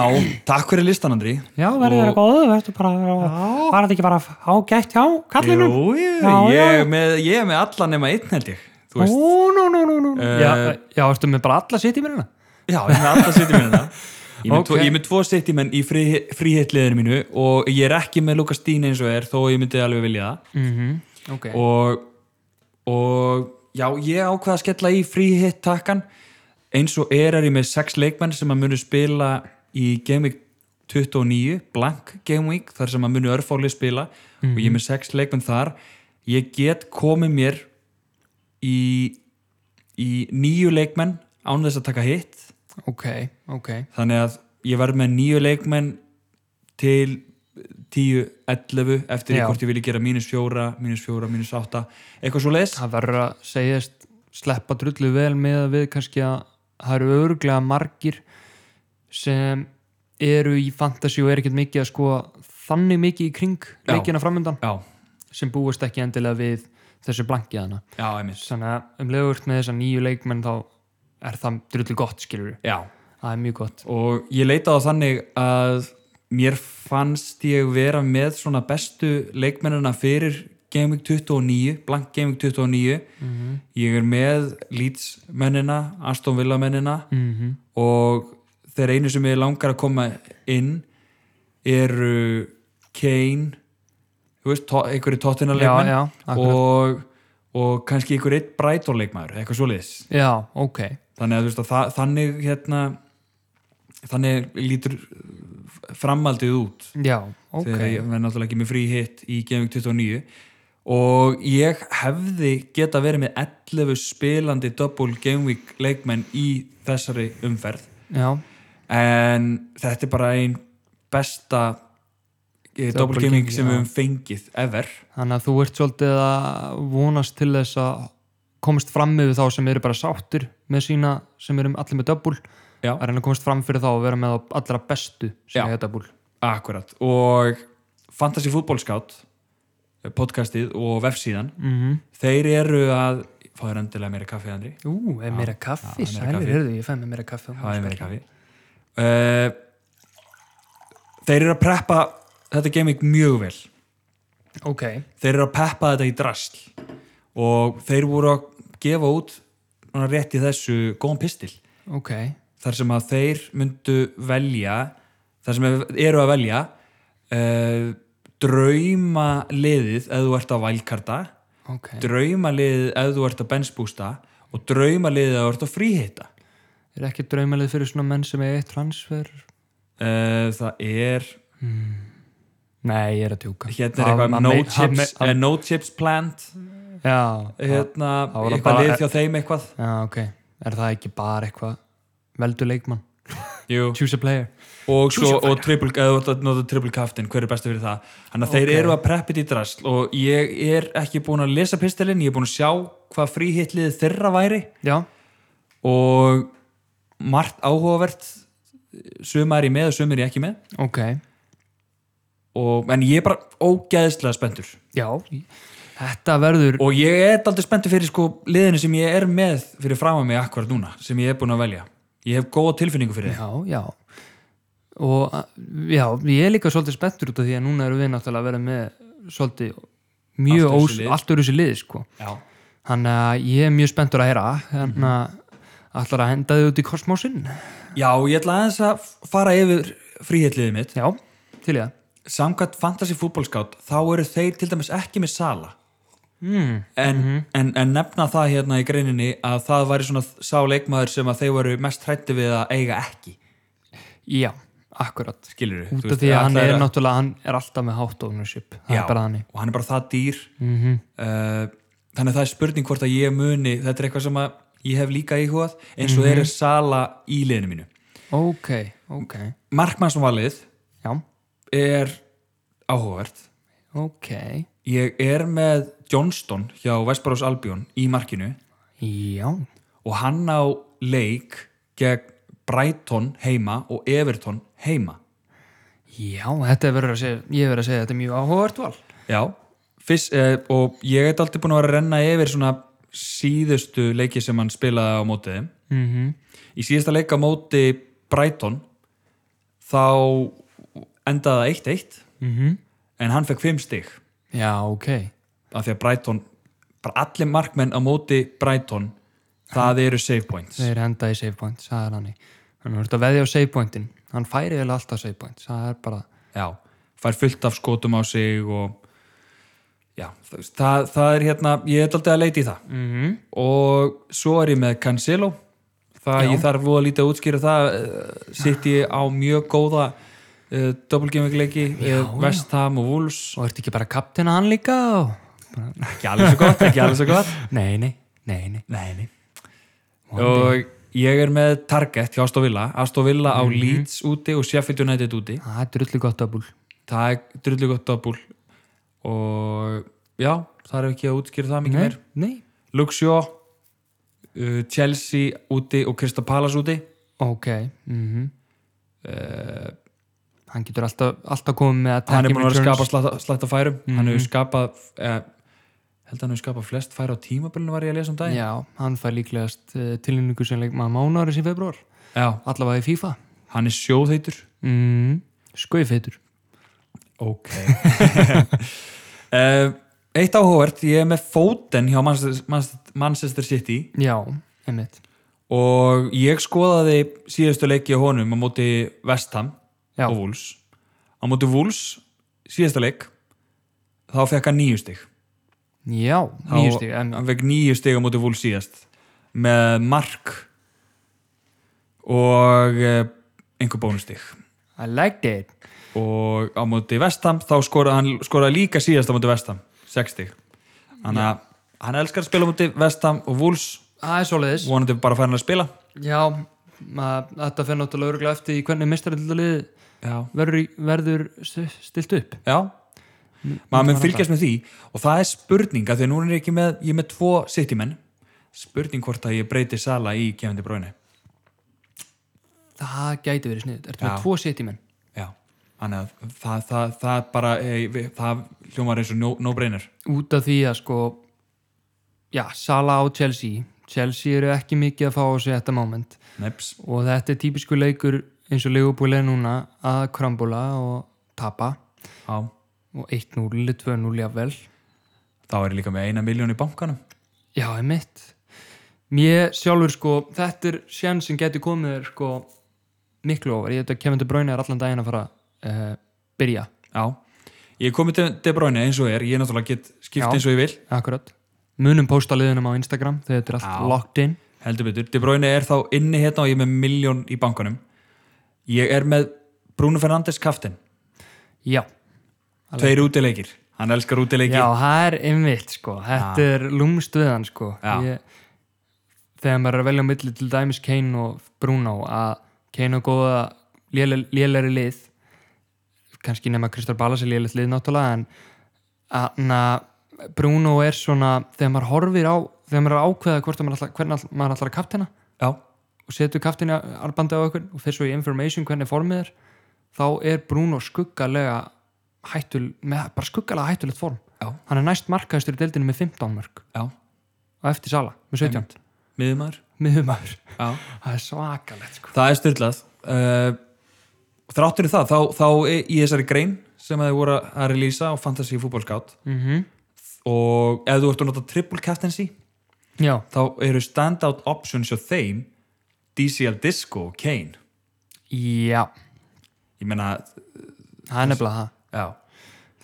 Speaker 1: takk fyrir listan Andri
Speaker 3: Já, verður
Speaker 1: Og-
Speaker 3: þér góðu, verður bara, var þetta ekki bara ágætt hjá kallinum?
Speaker 1: Jú, jú,
Speaker 3: Já,
Speaker 1: ég,
Speaker 3: já.
Speaker 1: er með, ég er með alla nema einn held ég Þú
Speaker 3: Ó,
Speaker 1: veist,
Speaker 3: nú, nú, nú, nú.
Speaker 1: Eh,
Speaker 2: já, já, ertu með bara alla sitt í mér hérna?
Speaker 1: já, ég er með alla sitt í minna Ég er með tvo-
Speaker 2: Ok.
Speaker 1: ég er með tvo sitt í menn í frí, fríhittliðinu mínu og ég er ekki með Lukas Dín eins og er þó ég myndi alveg vilja það
Speaker 2: mm -hmm. ok,
Speaker 1: og, og já, ég ákvað að skella í fríhitt takkan eins og er er ég með sex leikmenn sem að munu spila í Game Week 29 blank Game Week, þar sem að munu örfáli spila og ég er með sex leikmenn þar ég get komið mér í, í nýju leikmenn án þess að taka hitt
Speaker 2: ok, ok
Speaker 1: þannig að ég verð með nýju leikmenn til 10, 11 eftir því
Speaker 2: Já.
Speaker 1: hvort ég vilji gera mínus fjóra, mínus fjóra, mínus átta eitthvað svo leis
Speaker 2: það verður að segjast sleppa drullu vel með að við kannski að það eru örglega margir sem eru í fantasy og er ekkert mikið að sko þannig mikið í kring
Speaker 1: Já.
Speaker 2: leikina framöndan
Speaker 1: já,
Speaker 2: sem búist ekki endilega við þessu blankið hana
Speaker 1: já, einmitt
Speaker 2: þannig að um leiðvöld með þessa nýju leikmenn þá er það drullu gott skilur
Speaker 1: já.
Speaker 2: það er mjög gott
Speaker 1: og ég leita á þannig að mér fannst ég vera með svona bestu leikmennina fyrir Gaming 29, blank Gaming 29 ég er með Leeds mennina, Aston Villa mennina
Speaker 2: mm
Speaker 1: Mhm.
Speaker 2: -hmm.
Speaker 1: og þeir einu sem ég langar að koma inn eru Kane þú veist, to- einhverju Tottenham
Speaker 2: já,
Speaker 1: leikmenn
Speaker 2: já, akkurat.
Speaker 1: og, og kannski einhver eitt Brighton leikmaður, eitthvað svoleiðis
Speaker 2: já, ok
Speaker 1: þannig að þú veist að þa- þannig hérna þannig lítur uh, framhaldið út
Speaker 2: já, ok
Speaker 1: þegar ég verði náttúrulega ekki með frí hitt í Gaming 29 og ég hefði geta verið með 11 spilandi double Game Week leikmenn í þessari umferð
Speaker 2: já,
Speaker 1: en þetta er bara ein besta eh, double
Speaker 2: Double
Speaker 1: gaming
Speaker 2: gaming,
Speaker 1: sem
Speaker 2: já.
Speaker 1: við höfum fengið ever
Speaker 2: þannig að þú ert svolítið að vonast til þess að komast fram með þá sem eru bara sáttir með sína sem eru allir með döbbul
Speaker 1: Já.
Speaker 2: að reyna að komast fram fyrir þá og vera með þá allra bestu sem
Speaker 1: Já.
Speaker 2: eiga döbbul
Speaker 1: akkurat og Fantasy Football Scout eh, podcastið og vefsíðan
Speaker 2: mm -hmm.
Speaker 1: þeir eru að fáður endilega meira kaffi Andri
Speaker 2: Ú, er meira kaffi,
Speaker 1: Já, meira kaffi.
Speaker 2: heyrðu, ég fæ með meira kaffi
Speaker 1: það er meira kaffi uh, þeir eru að preppa þetta gaming mjög vel
Speaker 2: Ok,
Speaker 1: þeir eru að peppa þetta í drasl og þeir voru að gefa út svona rétt í þessu góðan pistil
Speaker 2: ok,
Speaker 1: þar sem að þeir myndu velja þar sem eru að velja uh, drauma liðið ef þú ert að vælkarta
Speaker 2: ok
Speaker 1: drauma liðið ef þú ert að bensbústa og drauma liðið ef þú ert að fríhita
Speaker 2: er ekki draumalið fyrir svona menn sem er eitt transfer
Speaker 1: uh, það er
Speaker 2: nei, ég er að tjúka
Speaker 1: hérna er eitthvað no chips, eh,
Speaker 2: já,
Speaker 1: no chips plant
Speaker 2: já,
Speaker 1: hérna,
Speaker 2: það var
Speaker 1: eitthvað
Speaker 2: bara- e-
Speaker 1: lið hjá þeim eitthvað
Speaker 2: ok er það ekki bara eitthvað veldu leikmann,
Speaker 1: Jú.
Speaker 2: choose a player
Speaker 1: og, svo,
Speaker 2: Choose your
Speaker 1: og triple, eða þú ert að nota triple kaftin hver er besti fyrir það þannig að
Speaker 2: Ok.
Speaker 1: þeir eru að preppa þetta í drasl og ég er ekki búin að lesa pistilinn ég er búin að sjá hvað fríhitlið þeirra væri
Speaker 2: já,
Speaker 1: og margt áhugavert suma er ég með og suma er ég ekki með
Speaker 2: ok
Speaker 1: og, en ég er bara ógæðislega spenntur
Speaker 2: já, þetta verður
Speaker 1: og ég er aldrei spenntur fyrir sko liðinu sem ég er með fyrir fram að mig akkurat núna sem ég er búin að velja ég hef góða tilfinningu fyrir
Speaker 2: já, já og a- já, ég er líka svolítið spenntur út af því að núna erum við náttúrulega að vera með svolítið mjög
Speaker 1: Allt öðruvísi
Speaker 2: ós,
Speaker 1: lið.
Speaker 2: allt öru sér lið sko.
Speaker 1: það já.
Speaker 2: þannig að ég er mjög spenntur að heyra þannig
Speaker 1: Mhm.
Speaker 2: að ætlar að henda þið út í kosmósin
Speaker 1: já, ég ætla aðeins að fara yfir fríhitliðið mitt
Speaker 2: já, til ég
Speaker 1: samkvæmt fantasy fútbolskátt þá eru þeir til dæmis ekki með sala
Speaker 2: mm.
Speaker 1: en, en, en nefna það hérna í greininni að það væri svona sá leikmaður sem að þeir voru mest hrætti við að eiga ekki
Speaker 2: já, akkurat
Speaker 1: skilur
Speaker 2: út af því að hann er náttúrulega hann er alltaf með hátt ownership það er bara þannig
Speaker 1: og hann er bara það dýr
Speaker 2: mm
Speaker 1: uh, þannig að það er spurning hvort að ég muni þetta er eitthvað sem að ég hef líka íhugað eins og
Speaker 2: Mhm.
Speaker 1: þeir eru sala í liðinu mínu
Speaker 2: ok, ok,
Speaker 1: markmannsvalið
Speaker 2: já,
Speaker 1: er áhugavert
Speaker 2: ok
Speaker 1: ég er með Johnston hjá Vesparós Albion í markinu
Speaker 2: já,
Speaker 1: og hann á leik gegn Brighton heima og Everton heima
Speaker 2: já, þetta er verið að segja ég er verið að segja að þetta er mjög áhugavert val
Speaker 1: já, fyrst, eh, og ég heit aldrei búin að vera að renna yfir svona síðustu leiki sem hann spilaði á móti þeim.
Speaker 2: mhm
Speaker 1: í síðasta leik á móti Brighton þá endaði það 1-1
Speaker 2: mm
Speaker 1: en hann fekk 5 stig
Speaker 2: Já, ok
Speaker 1: af því að Brighton, bara allir markmenn á móti Brighton það eru save points
Speaker 2: Þeir henda í save points, það er hann í Hann verður að veðja á save pointin Hann færi vel alltaf save points, það er bara
Speaker 1: já, fær fullt af skotum á sig og já, þú veist, það, það er hérna ég er aldrei að leita í það
Speaker 2: mm -hmm.
Speaker 1: og svo er ég með Cancelo það
Speaker 2: Já.
Speaker 1: ég þarf voða lítið að útskýra það uh, sitt ég á mjög góða uh, doppelgimingleiki uh, West Ham og Wolves
Speaker 2: Og ertu ekki bara kaptina hann líka og... bara...
Speaker 1: ekki alveg svo gott, ekki alveg svo gott
Speaker 2: Nei, nei, nei, nei
Speaker 1: nei, nei. og ég er með Target hjá Astovilla Astovilla á Leeds úti og Sheffield United úti
Speaker 2: Það er drullu gott að búl
Speaker 1: það er drullu gott doppel og já, það er ekki að útskýra það mikið
Speaker 2: Nei,
Speaker 1: mér
Speaker 2: nei,
Speaker 1: Luxjó uh, Chelsea úti og Krista Palace úti
Speaker 2: ok mm -hmm. Hann getur alltaf, alltaf komið með
Speaker 1: hann er
Speaker 2: attacking
Speaker 1: búin að vera að
Speaker 2: returns.
Speaker 1: skapa slatta, slatta færum hann
Speaker 2: Mhm.
Speaker 1: hefur skapað eh, held að hann hefur skapað flest færi á tímabilinu var ég að lesa um daginn
Speaker 2: Já, hann fær líklegast uh, tilhengu sem leikma mánuðaris í februar
Speaker 1: Já.
Speaker 2: Allavega í FIFA
Speaker 1: hann er sjóðheitur Mhm.
Speaker 2: mm. Skauðfeitur
Speaker 1: ok Eh, eitt áhugavert, ég er með fóten hjá Manchester, Manchester- Manchester City
Speaker 2: Já, einmitt
Speaker 1: og ég skoðaði síðustu leiki á honum á móti Vestham
Speaker 2: Já.
Speaker 1: og Wolves á móti Wolves, síðasta leik þá fekk hann níu stig
Speaker 2: Já,
Speaker 1: Þá-
Speaker 2: nýju stíg en...
Speaker 1: hann fekk nýju stig á móti vúl síðast með mark og eh, einhver bónustig
Speaker 2: I liked it
Speaker 1: og á móti vestam þá skoraði hann skoraði líka síðast á móti vestam 6 stig þannig að hann elskar að spila á móti vestam og vúls
Speaker 2: Það er svoleiðis
Speaker 1: vonandi bara fær hann að spila
Speaker 2: Já, maður, þetta fer náttúrulega örgulega eftir í hvernig mistarallið
Speaker 1: já,
Speaker 2: verður, í- verður st- stilt upp
Speaker 1: já. maður mun fylgjast með því og það er spurning af því að núna er ég ekki með ég er með tvo sittimenn spurning hvort að ég breyti Sala í kefandi bróinu
Speaker 2: Það gæti verið sniðið Ertu með
Speaker 1: Já.
Speaker 2: tvo sittimenn?
Speaker 1: Já, þannig að það, það, það bara, eh, við- það hljómar eins og no- no-brainer.
Speaker 2: Út af því að sko Já, Sala á Chelsea Chelsea eru ekki mikið að fá á sig þetta moment
Speaker 1: No Neps.
Speaker 2: og þetta er típisku leikur eins og leigubúlega núna að krambula og tapa
Speaker 1: Já,
Speaker 2: og 1-0 eða 2-0 jafnvel
Speaker 1: þá er ég líka með eina miljón í bankanum.
Speaker 2: Já, einmitt Mér sjálfur sko, þetta er sén sem getur komið þér sko miklu ofar. Ég veit að Kevin De Bruyne er allan daginn að fara að uh, byrja.
Speaker 1: Já, ég er komið til De Bruyne eins og er, ég náttúrulega get skipt
Speaker 2: Já.
Speaker 1: eins og ég vil
Speaker 2: Akkurat. Munum posta liðunum á Instagram þegar þetta er allt
Speaker 1: Já.
Speaker 2: locked in.
Speaker 1: heldur betur, De Bruyne er þá inni hérna og ég er með miljón í bankanum ég er með Bruno Fernandes kaftin,
Speaker 2: Já.
Speaker 1: tveir útileikir hann elskar útileiki,
Speaker 2: Já, það er einmitt sko. Þetta er lúmst við hann sko.
Speaker 1: Já.
Speaker 2: Ég, þegar maður er að velja á milli til dæmis Kane og Bruno að Kane og góða lélæri lið kannski nema Kristar Ballas er lélæri lið náttúrulega en að, na, Bruno er svona þegar maður horfir á þegar maður er að ákveða hvort að maður ætlar, hvern all- maður ætlar að kaptina
Speaker 1: Já.
Speaker 2: og setur kaptina arbandi á okkur og fyrir svo í information hvernig formið er þá er Bruno skuggalega hættul, með bara skuggalega hættulegt form
Speaker 1: Já.
Speaker 2: hann er næst markaðistur í deildinu með 15 mörg
Speaker 1: Já.
Speaker 2: og eftir Sala með 17
Speaker 1: miðumar
Speaker 2: miðumæður,
Speaker 1: Já.
Speaker 2: það er svakalegt sko.
Speaker 1: það er styrlað uh, þráttur í það, þá, þá í þessari grein sem þið voru að relýsa á Fantasy Football Scout
Speaker 2: mm
Speaker 1: og ef þú ert að nota triple captaincy
Speaker 2: já,
Speaker 1: þá eru standout options hjá þeim DCL Disco og Kane
Speaker 2: já,
Speaker 1: ég meina,
Speaker 2: það er nefnilega það
Speaker 1: já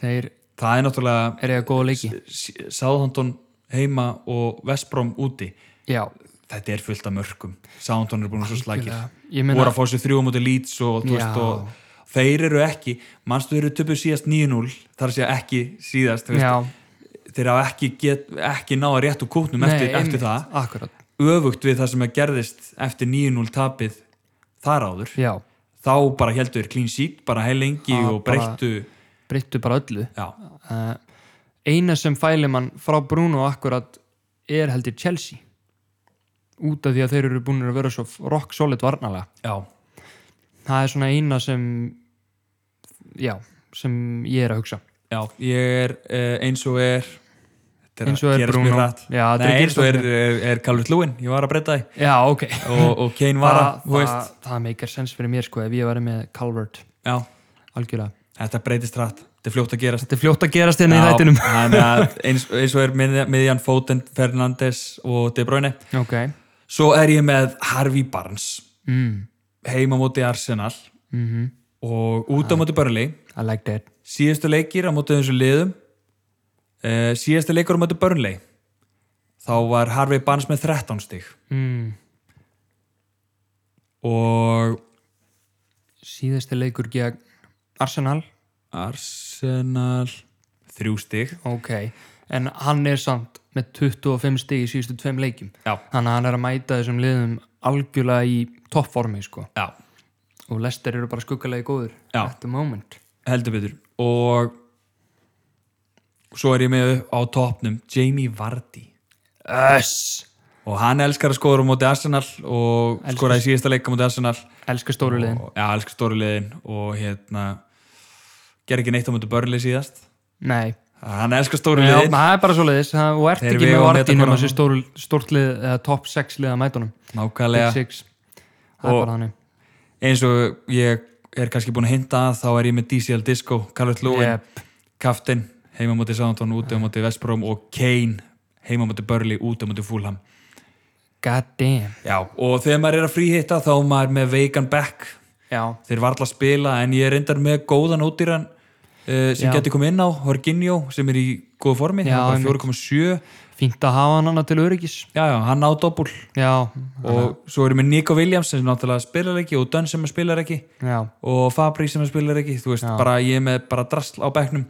Speaker 2: þeir
Speaker 1: það er náttúrulega
Speaker 2: eru að góða leiki
Speaker 1: Sáðhondon heima og Vestbrom úti
Speaker 2: já,
Speaker 1: þetta er fullt af mörkum Sáðhondon er búin að vera svo slækir
Speaker 2: Algjörlega. Ég meina-
Speaker 1: voru að fá sér þrjú á móti lít og, þú veist,
Speaker 2: Já.
Speaker 1: og þeir eru ekki mannstu þeir eru töpuð síðast 9-0 þar sé ekki síðast þú veist.
Speaker 2: já
Speaker 1: þeir hafa ekki, get, ekki náða rétt úr kútnum eftir, eftir það
Speaker 2: akkurat,
Speaker 1: öfugt við það sem að gerðist eftir 9-0 tapið þar áður
Speaker 2: já,
Speaker 1: þá bara heldur þeir clean sheet bara heilengi
Speaker 2: Já,
Speaker 1: og
Speaker 2: Ah, bara-
Speaker 1: breyttu
Speaker 2: breyttu bara öllu
Speaker 1: já,
Speaker 2: uh, eina sem fæli mann frá Bruno akkurat er heldur Chelsea út af því að þeir eru búin að vera svo rock solid varnalega
Speaker 1: já,
Speaker 2: það er svona eina sem já, sem ég er að hugsa
Speaker 1: já ég er eh, eins og er þetta
Speaker 2: eins og er
Speaker 1: gerast
Speaker 2: Bruno
Speaker 1: mjög
Speaker 2: já,
Speaker 1: hratt.
Speaker 2: þetta
Speaker 1: Nei, eins og er,
Speaker 2: gerast-
Speaker 1: er, er Calvert Lúin, ég var að breyta því
Speaker 2: já, ok
Speaker 1: og, og Kane var
Speaker 2: það,
Speaker 1: að, þú
Speaker 2: það,
Speaker 1: veist
Speaker 2: það meikar sens fyrir mér sko ef ég væri með Calvert
Speaker 1: já,
Speaker 2: algjörlega
Speaker 1: þetta breytist rætt, þetta er fljótt að gerast
Speaker 2: þetta er fljótt að gerast hérna í þættinum
Speaker 1: þannig að eins, eins og er mið- miðjan Foden, Fernandes og De Bruyne
Speaker 2: ok
Speaker 1: svo er ég með Harvey Barnes
Speaker 2: mm.
Speaker 1: heima móti Arsenal
Speaker 2: Mm
Speaker 1: og út á móti Burnley
Speaker 2: I like that
Speaker 1: síðustu leikir á móti þessu liðum uh, síðustu leikur á móti Burnley þá var Harvey Barnes með 13 stig
Speaker 2: mm.
Speaker 1: og
Speaker 2: síðasti leikur gegn Arsenal
Speaker 1: Arsenal þrjú stig
Speaker 2: ok en hann er samt með 25 stig í síðustu tveim leikjum
Speaker 1: Já.
Speaker 2: þannig að hann er að mæta þessum liðum algjörlega í toppformi sko
Speaker 1: já,
Speaker 2: og Lester eru bara skuggalegi góður
Speaker 1: Já.
Speaker 2: at the moment
Speaker 1: heldur betur og svo er ég með upp á topnum Jamie Vardy
Speaker 2: Öss
Speaker 1: og hann elskar að skora á móti Arsenal og
Speaker 2: Elskar.
Speaker 1: skoraði í síðasta leika móti Arsenal
Speaker 2: Elskar stóru liðin
Speaker 1: og, ja, elskar stóru liðin og hérna ger ekki neitt á móti börnli síðast
Speaker 2: Nei
Speaker 1: hann elskar stóru
Speaker 2: Já,
Speaker 1: liðin
Speaker 2: það er bara svo leiðis og ert
Speaker 1: Þeir
Speaker 2: ekki
Speaker 1: vega
Speaker 2: með
Speaker 1: og meta
Speaker 2: vartin um
Speaker 1: hvor
Speaker 2: þessi
Speaker 1: hann-
Speaker 2: stór, stórt lið eða top 6 lið að mæta honum Big
Speaker 1: nákvæmlega
Speaker 2: 6 Það er
Speaker 1: Og-
Speaker 2: bara þannig
Speaker 1: eins og ég er kannski búin að hinta að þá er ég með DCL Disco, Calvert Lewin
Speaker 2: Jep.
Speaker 1: Kaftin, heima á móti Sándón úti á móti Vestbróm og Kane heima á móti Börli, úti á móti Fúlham
Speaker 2: God damn
Speaker 1: Já, og þegar maður er að fríhitta þá er maður með veikan back
Speaker 2: Já,
Speaker 1: þeir varla að spila en ég er reyndar með góðan ódýran uh, sem
Speaker 2: Já.
Speaker 1: getur komið inn á Horginjó sem er í góðu formi,
Speaker 2: Já,
Speaker 1: hann
Speaker 2: einmitt.
Speaker 1: var 4,7 já,
Speaker 2: fínt að hafa hann annað til öryggis
Speaker 1: já, hann á doppul
Speaker 2: Já,
Speaker 1: og svo erum við Nico Williams sem náttúrulega spilar ekki og Dunn sem spilar ekki
Speaker 2: já,
Speaker 1: og Fabri sem spilar ekki þú veist, bara ég er með bara drasl á bekknum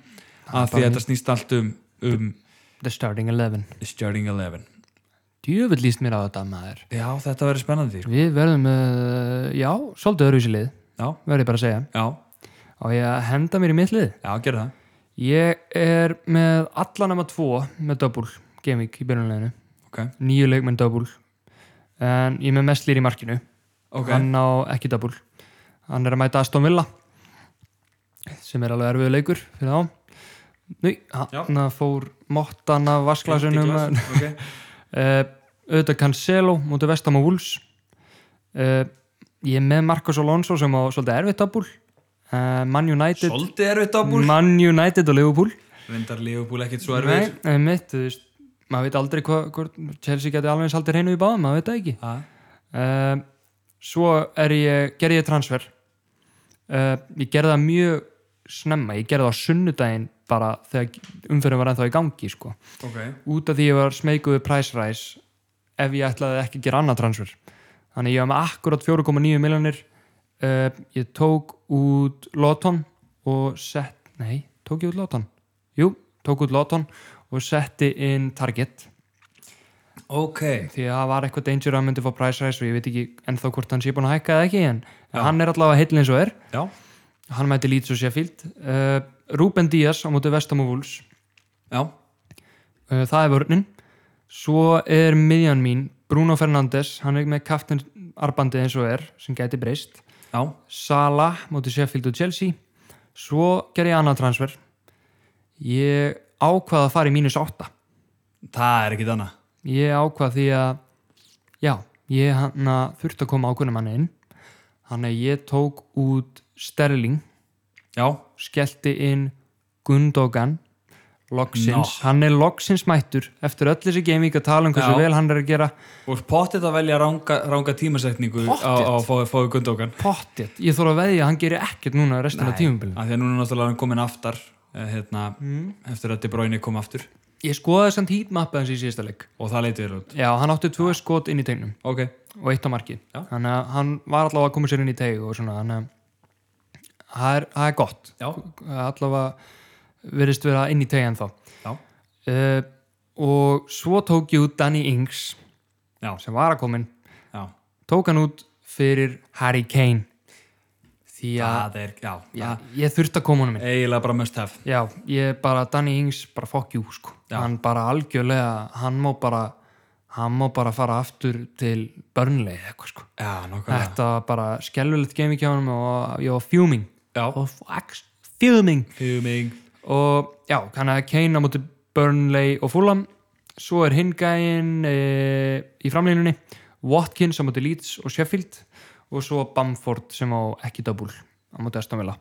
Speaker 1: af því að þetta snýst allt um, um
Speaker 2: the starting 11
Speaker 1: starting 11
Speaker 2: Djöfull líst mér á þetta maður
Speaker 1: Já, þetta verður spennandi sko.
Speaker 2: Við verðum, uh, já, svolítið öryggis lið
Speaker 1: Já,
Speaker 2: verð ég bara að segja
Speaker 1: já,
Speaker 2: og ég að henda mér í mitt lið
Speaker 1: já, gerðu það
Speaker 2: Ég er með allanama tvo með double gaming í byrjunleginu
Speaker 1: Ok,
Speaker 2: nýju leikmenn double en ég er með mest lýr í markinu
Speaker 1: ok,
Speaker 2: hann á ekki double hann er að mæta Aston Villa sem er alveg erfiðu leikur fyrir þá Nei,
Speaker 1: Já.
Speaker 2: hann fór mottana vasklasunum
Speaker 1: Glas,
Speaker 2: uh,
Speaker 1: ok.
Speaker 2: Eh, auðvitað Cancelo mútið vestam og Wolves uh, ég er með Marcos Alonso sem á svolítið erfitt double uh, Man United
Speaker 1: Svolítið erfitt á búl
Speaker 2: Man United og Liverpool
Speaker 1: Reyndar Liverpool ekkit svo
Speaker 2: Nei,
Speaker 1: erfitt
Speaker 2: einmitt, þú veist maður veit aldrei hvað, hvort Chelsea geti alveg eins haldið hreinu í báðum, maður veit það ekki uh, svo er ég gerði ég transfer uh, ég gerði það mjög snemma, ég gerði það á sunnudaginn bara þegar umferðin var ennþá í gangi sko.
Speaker 1: Ok.
Speaker 2: út af því ég var smeguðu price rise ef ég ætlaði ekki að gera annað transfer þannig ég var með akkurat 4,9 miljonir uh, ég tók út Lotton og sett, nei, tók ég út Lotton jú, tók út Lotton og setti inn Target
Speaker 1: Ok.
Speaker 2: því að það var eitthvað danger að hann myndi fá price rise og ég veit ekki ennþá hvort hann sé búin að hækka eða ekki en
Speaker 1: Já.
Speaker 2: hann er allavega heill eins og er
Speaker 1: Já.
Speaker 2: hann mæti Leeds og Sheffield uh, Ruben Díaz á móti Vestam og Wolves
Speaker 1: Já.
Speaker 2: uh, það er vörnin svo er miðjan mín Bruno Fernandes, hann er með kaftin arbandið eins og er, sem gæti breyst
Speaker 1: Já.
Speaker 2: Sala móti Sheffield og Chelsea svo ger ég annað transfer ég ákvað að fara í mínus 8
Speaker 1: Það er ekkit annað.
Speaker 2: ég ákvað því að já, ég hann að þurfti að koma ákveðnum hann inn hann að ég tók út Sterling
Speaker 1: Já.
Speaker 2: skellti inn Gundogan loksins, hann er loksins mættur eftir öll þessi gaming að tala um hversu
Speaker 1: Já.
Speaker 2: vel hann er að gera
Speaker 1: Og pottet að velja ranga, ranga tímasetningu á, á að fá- fáið gundókan.
Speaker 2: pottet, ég þóra að veðja að hann gerir ekkert núna restina af tímumbilinu.
Speaker 1: Af því að núna er náttúrulega hann komin aftar eh, hérna, eftir að De Bruyne kom aftur
Speaker 2: Ég skoðaði samt heatmappið hans í síðasta leik
Speaker 1: og það leitið er út.
Speaker 2: Já, hann átti tvö skot inn í tegnum
Speaker 1: Ok.
Speaker 2: og eitt á marki,
Speaker 1: Já.
Speaker 2: þannig að hann var allavega að koma sér inn í teg og svona þannig að það er, það er gott
Speaker 1: Já.
Speaker 2: allavega verðist vera inn í tegjan þá
Speaker 1: Já.
Speaker 2: uh, og svo tók ég út Danny Ings
Speaker 1: Já.
Speaker 2: sem var að komin
Speaker 1: Já.
Speaker 2: tók hann út fyrir Harry Kane því að
Speaker 1: Það er, já.
Speaker 2: já,
Speaker 1: já.
Speaker 2: ég þurfti að koma honum inn
Speaker 1: Eiginlega bara must have.
Speaker 2: já, ég bara, Danny Ings bara fuck you sko,
Speaker 1: Já.
Speaker 2: hann bara algjörlega hann má bara hann má bara fara aftur til börnlegi eitthvað sko,
Speaker 1: Já, nokkvæmlega.
Speaker 2: þetta var bara skelvilegt gaming hjá honum og ég var fuming
Speaker 1: Já.
Speaker 2: og fuck fuming
Speaker 1: Fuming.
Speaker 2: og já, hann að Kane á móti Burnley og Fulham svo er hinn gæinn e, í framleinunni Watkins á móti Leeds og Sheffield og svo Bamford sem á ekki double á móti Aston Villa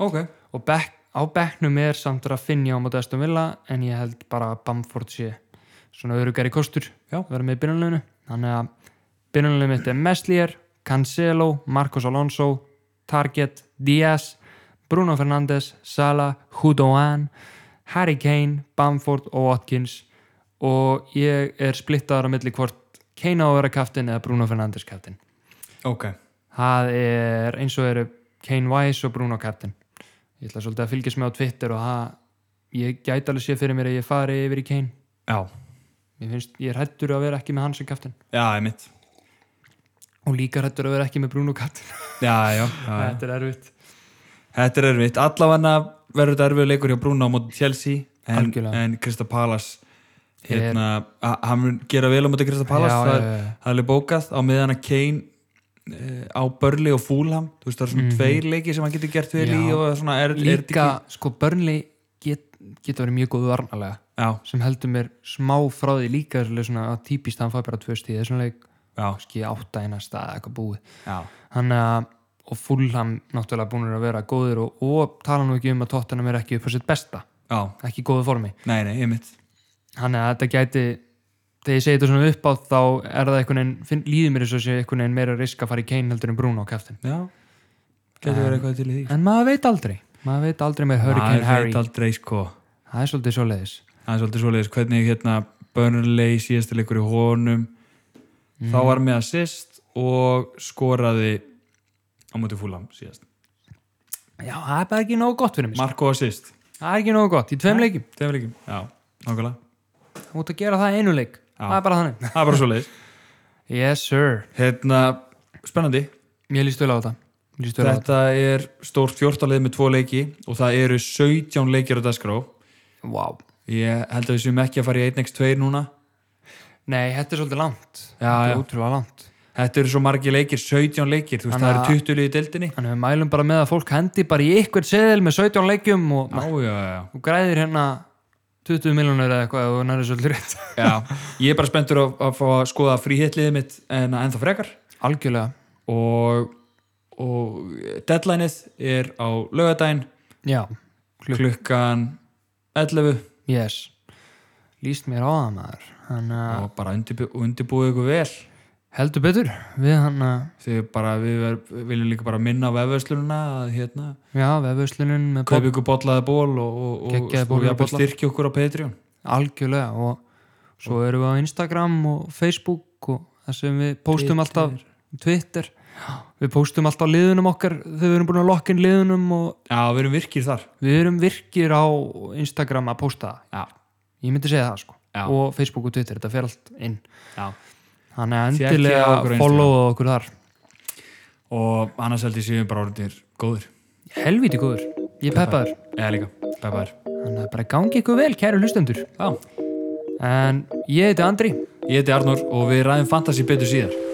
Speaker 1: Ok.
Speaker 2: og back, á bekknum er samt að finja á móti Aston Villa en ég held bara að Bamford sé svona örugari kostur
Speaker 1: Já.
Speaker 2: vera með í byrjunleginu þannig að byrjunleginu mitt er Meslier Cancelo, Marcos Alonso Target, Diaz Bruno Fernandes, Sala Houdoan, Harry Kane Bamford og Watkins og ég er splittaður á milli hvort Kane á að vera kaftin eða Bruno Fernandes kaftin
Speaker 1: Ok.
Speaker 2: það er eins og eru Kane Wise og Bruno Captain ég ætla svolítið að fylgjast með á Twitter og það, ég gæti alveg sé fyrir mér að ég fari yfir í Kane
Speaker 1: Já.
Speaker 2: ég, finnst, ég er hættur að vera ekki með hann sem Captain
Speaker 1: Já, ég mitt.
Speaker 2: og líka hættur að vera ekki með Bruno Captain
Speaker 1: Já, já. já.
Speaker 2: þetta er erfitt
Speaker 1: Þetta er erfitt. Allavega verður þetta erfið leikur hjá Bruno á móti Chelsea en,
Speaker 2: Algjörlega.
Speaker 1: en Krista Palas hérna, a- hann mun gera vel á móti Krista Palas,
Speaker 2: Já,
Speaker 1: það er
Speaker 2: já, já.
Speaker 1: það er alveg bókað á meðan að Kane eh, á Börli og Fúlham þú veist það er svona tveir leiki sem hann getur gert vel í
Speaker 2: Mhm. Já.
Speaker 1: og svona er, er þetta
Speaker 2: líka, sko Burnley get, geta verið mjög góðu varnalega
Speaker 1: ekki- já,
Speaker 2: sem heldur mér smá frá því líka svolítið svona að típist hann fæ bara tvö stíð þessum leik
Speaker 1: já,
Speaker 2: kannski átta eina stað eitthvað búið
Speaker 1: já,
Speaker 2: hann að og Fulham náttúrulega búinur að vera góðir og, og tala nú ekki um að Tottenham er ekki upp á sitt besta,
Speaker 1: já
Speaker 2: ekki í góðu formi
Speaker 1: nei, nei, ég mitt
Speaker 2: hann að þetta gæti þegar ég segi þetta svona upp á þá er það einhvern veginn, finn, líður mér eins og sé einhvern veginn meira risk að fara í Kane heldur en Bruno á kæftin
Speaker 1: já, getur verið eitthvað til í því
Speaker 2: en maður veit aldrei, maður veit aldrei með Hurricane
Speaker 1: Maður
Speaker 2: Harry,
Speaker 1: veit aldrei sko
Speaker 2: það er svolítið svoleiðis
Speaker 1: það er svolítið svoleiðis hvernig hérna Burnley síðasta leikur í honum þá var með assist og skoraði á móti fúlam síðast
Speaker 2: já, það er bara ekki nógu gott fyrir mig sko.
Speaker 1: Marko assist
Speaker 2: það er ekki nógu gott, í tveim leikjum
Speaker 1: tveim leikum já, nákvæmlega
Speaker 2: þú mútt að gera það í einu leik,
Speaker 1: Já.
Speaker 2: það er bara þannig
Speaker 1: það er bara svoleiðis
Speaker 2: yes sir,
Speaker 1: hérna, spennandi
Speaker 2: ég líst vel á þetta Mér líst vel á þetta,
Speaker 1: þetta er stórt fjórtalið með tvo leiki og það eru 17 leikir á dagskrá
Speaker 2: wow
Speaker 1: ég held að við séum ekki að fara í 1x2 núna
Speaker 2: nei, þetta er svolítið langt,
Speaker 1: Já,
Speaker 2: þetta
Speaker 1: já.
Speaker 2: er ótrúlega langt
Speaker 1: þetta eru svo margi leikir, 17 leikir þú veist, það
Speaker 2: Þannig
Speaker 1: eru
Speaker 2: að-
Speaker 1: 20 liði í deildinni
Speaker 2: Þannig við mælum bara með að fólk hendi bara í ykkvert seðil með 17 leikjum og,
Speaker 1: já, já, já
Speaker 2: og græðir hérna 20 miljónur eða eitthvað ef þú nærið svolítið rétt.
Speaker 1: Já, ég er bara spenntur að, að fá að skoða fríhetliðið mitt en ennþá frekar
Speaker 2: Algjörlega.
Speaker 1: og, og deadlineið er á lögadaginn
Speaker 2: Já.
Speaker 1: klukkan 11
Speaker 2: Yes. líst mér á það maður hann að
Speaker 1: og bara undirbú, undirbúið ykkur vel
Speaker 2: heldur betur við hann að
Speaker 1: þegar bara við ver, viljum líka bara minna á vefverslununa að hérna
Speaker 2: já, vefuslunin með
Speaker 1: kaupa ykkur bollaði ból og, og, og,
Speaker 2: Geggjaðir
Speaker 1: og
Speaker 2: bollar og
Speaker 1: jafnvel
Speaker 2: bollar.
Speaker 1: styrkja okkur á Patreon
Speaker 2: algjörlega og svo erum við á Instagram og Facebook og það sem við póstum alltaf Twitter, við póstum alltaf liðunum okkar þegar við erum búin að lokka inn liðunum og
Speaker 1: Já, við erum virkir þar
Speaker 2: við erum virkir á Instagram að pósta það,
Speaker 1: Já,
Speaker 2: ég myndi segja það sko
Speaker 1: Já.
Speaker 2: og Facebook og Twitter, þetta fer allt inn
Speaker 1: já
Speaker 2: þannig að
Speaker 1: Tékkið á okkur á
Speaker 2: endilega
Speaker 1: Instagram.
Speaker 2: followa okkur þar
Speaker 1: og annars held ég séum bara orðinir góðir
Speaker 2: helviti góður, ég peppaður
Speaker 1: eða líka, peppaður
Speaker 2: þannig að bara gangi ykkur vel kæru hlustendur
Speaker 1: Já,
Speaker 2: en ég heiti Andri
Speaker 1: ég heiti Arnór og við ræðum fantasy betur síðar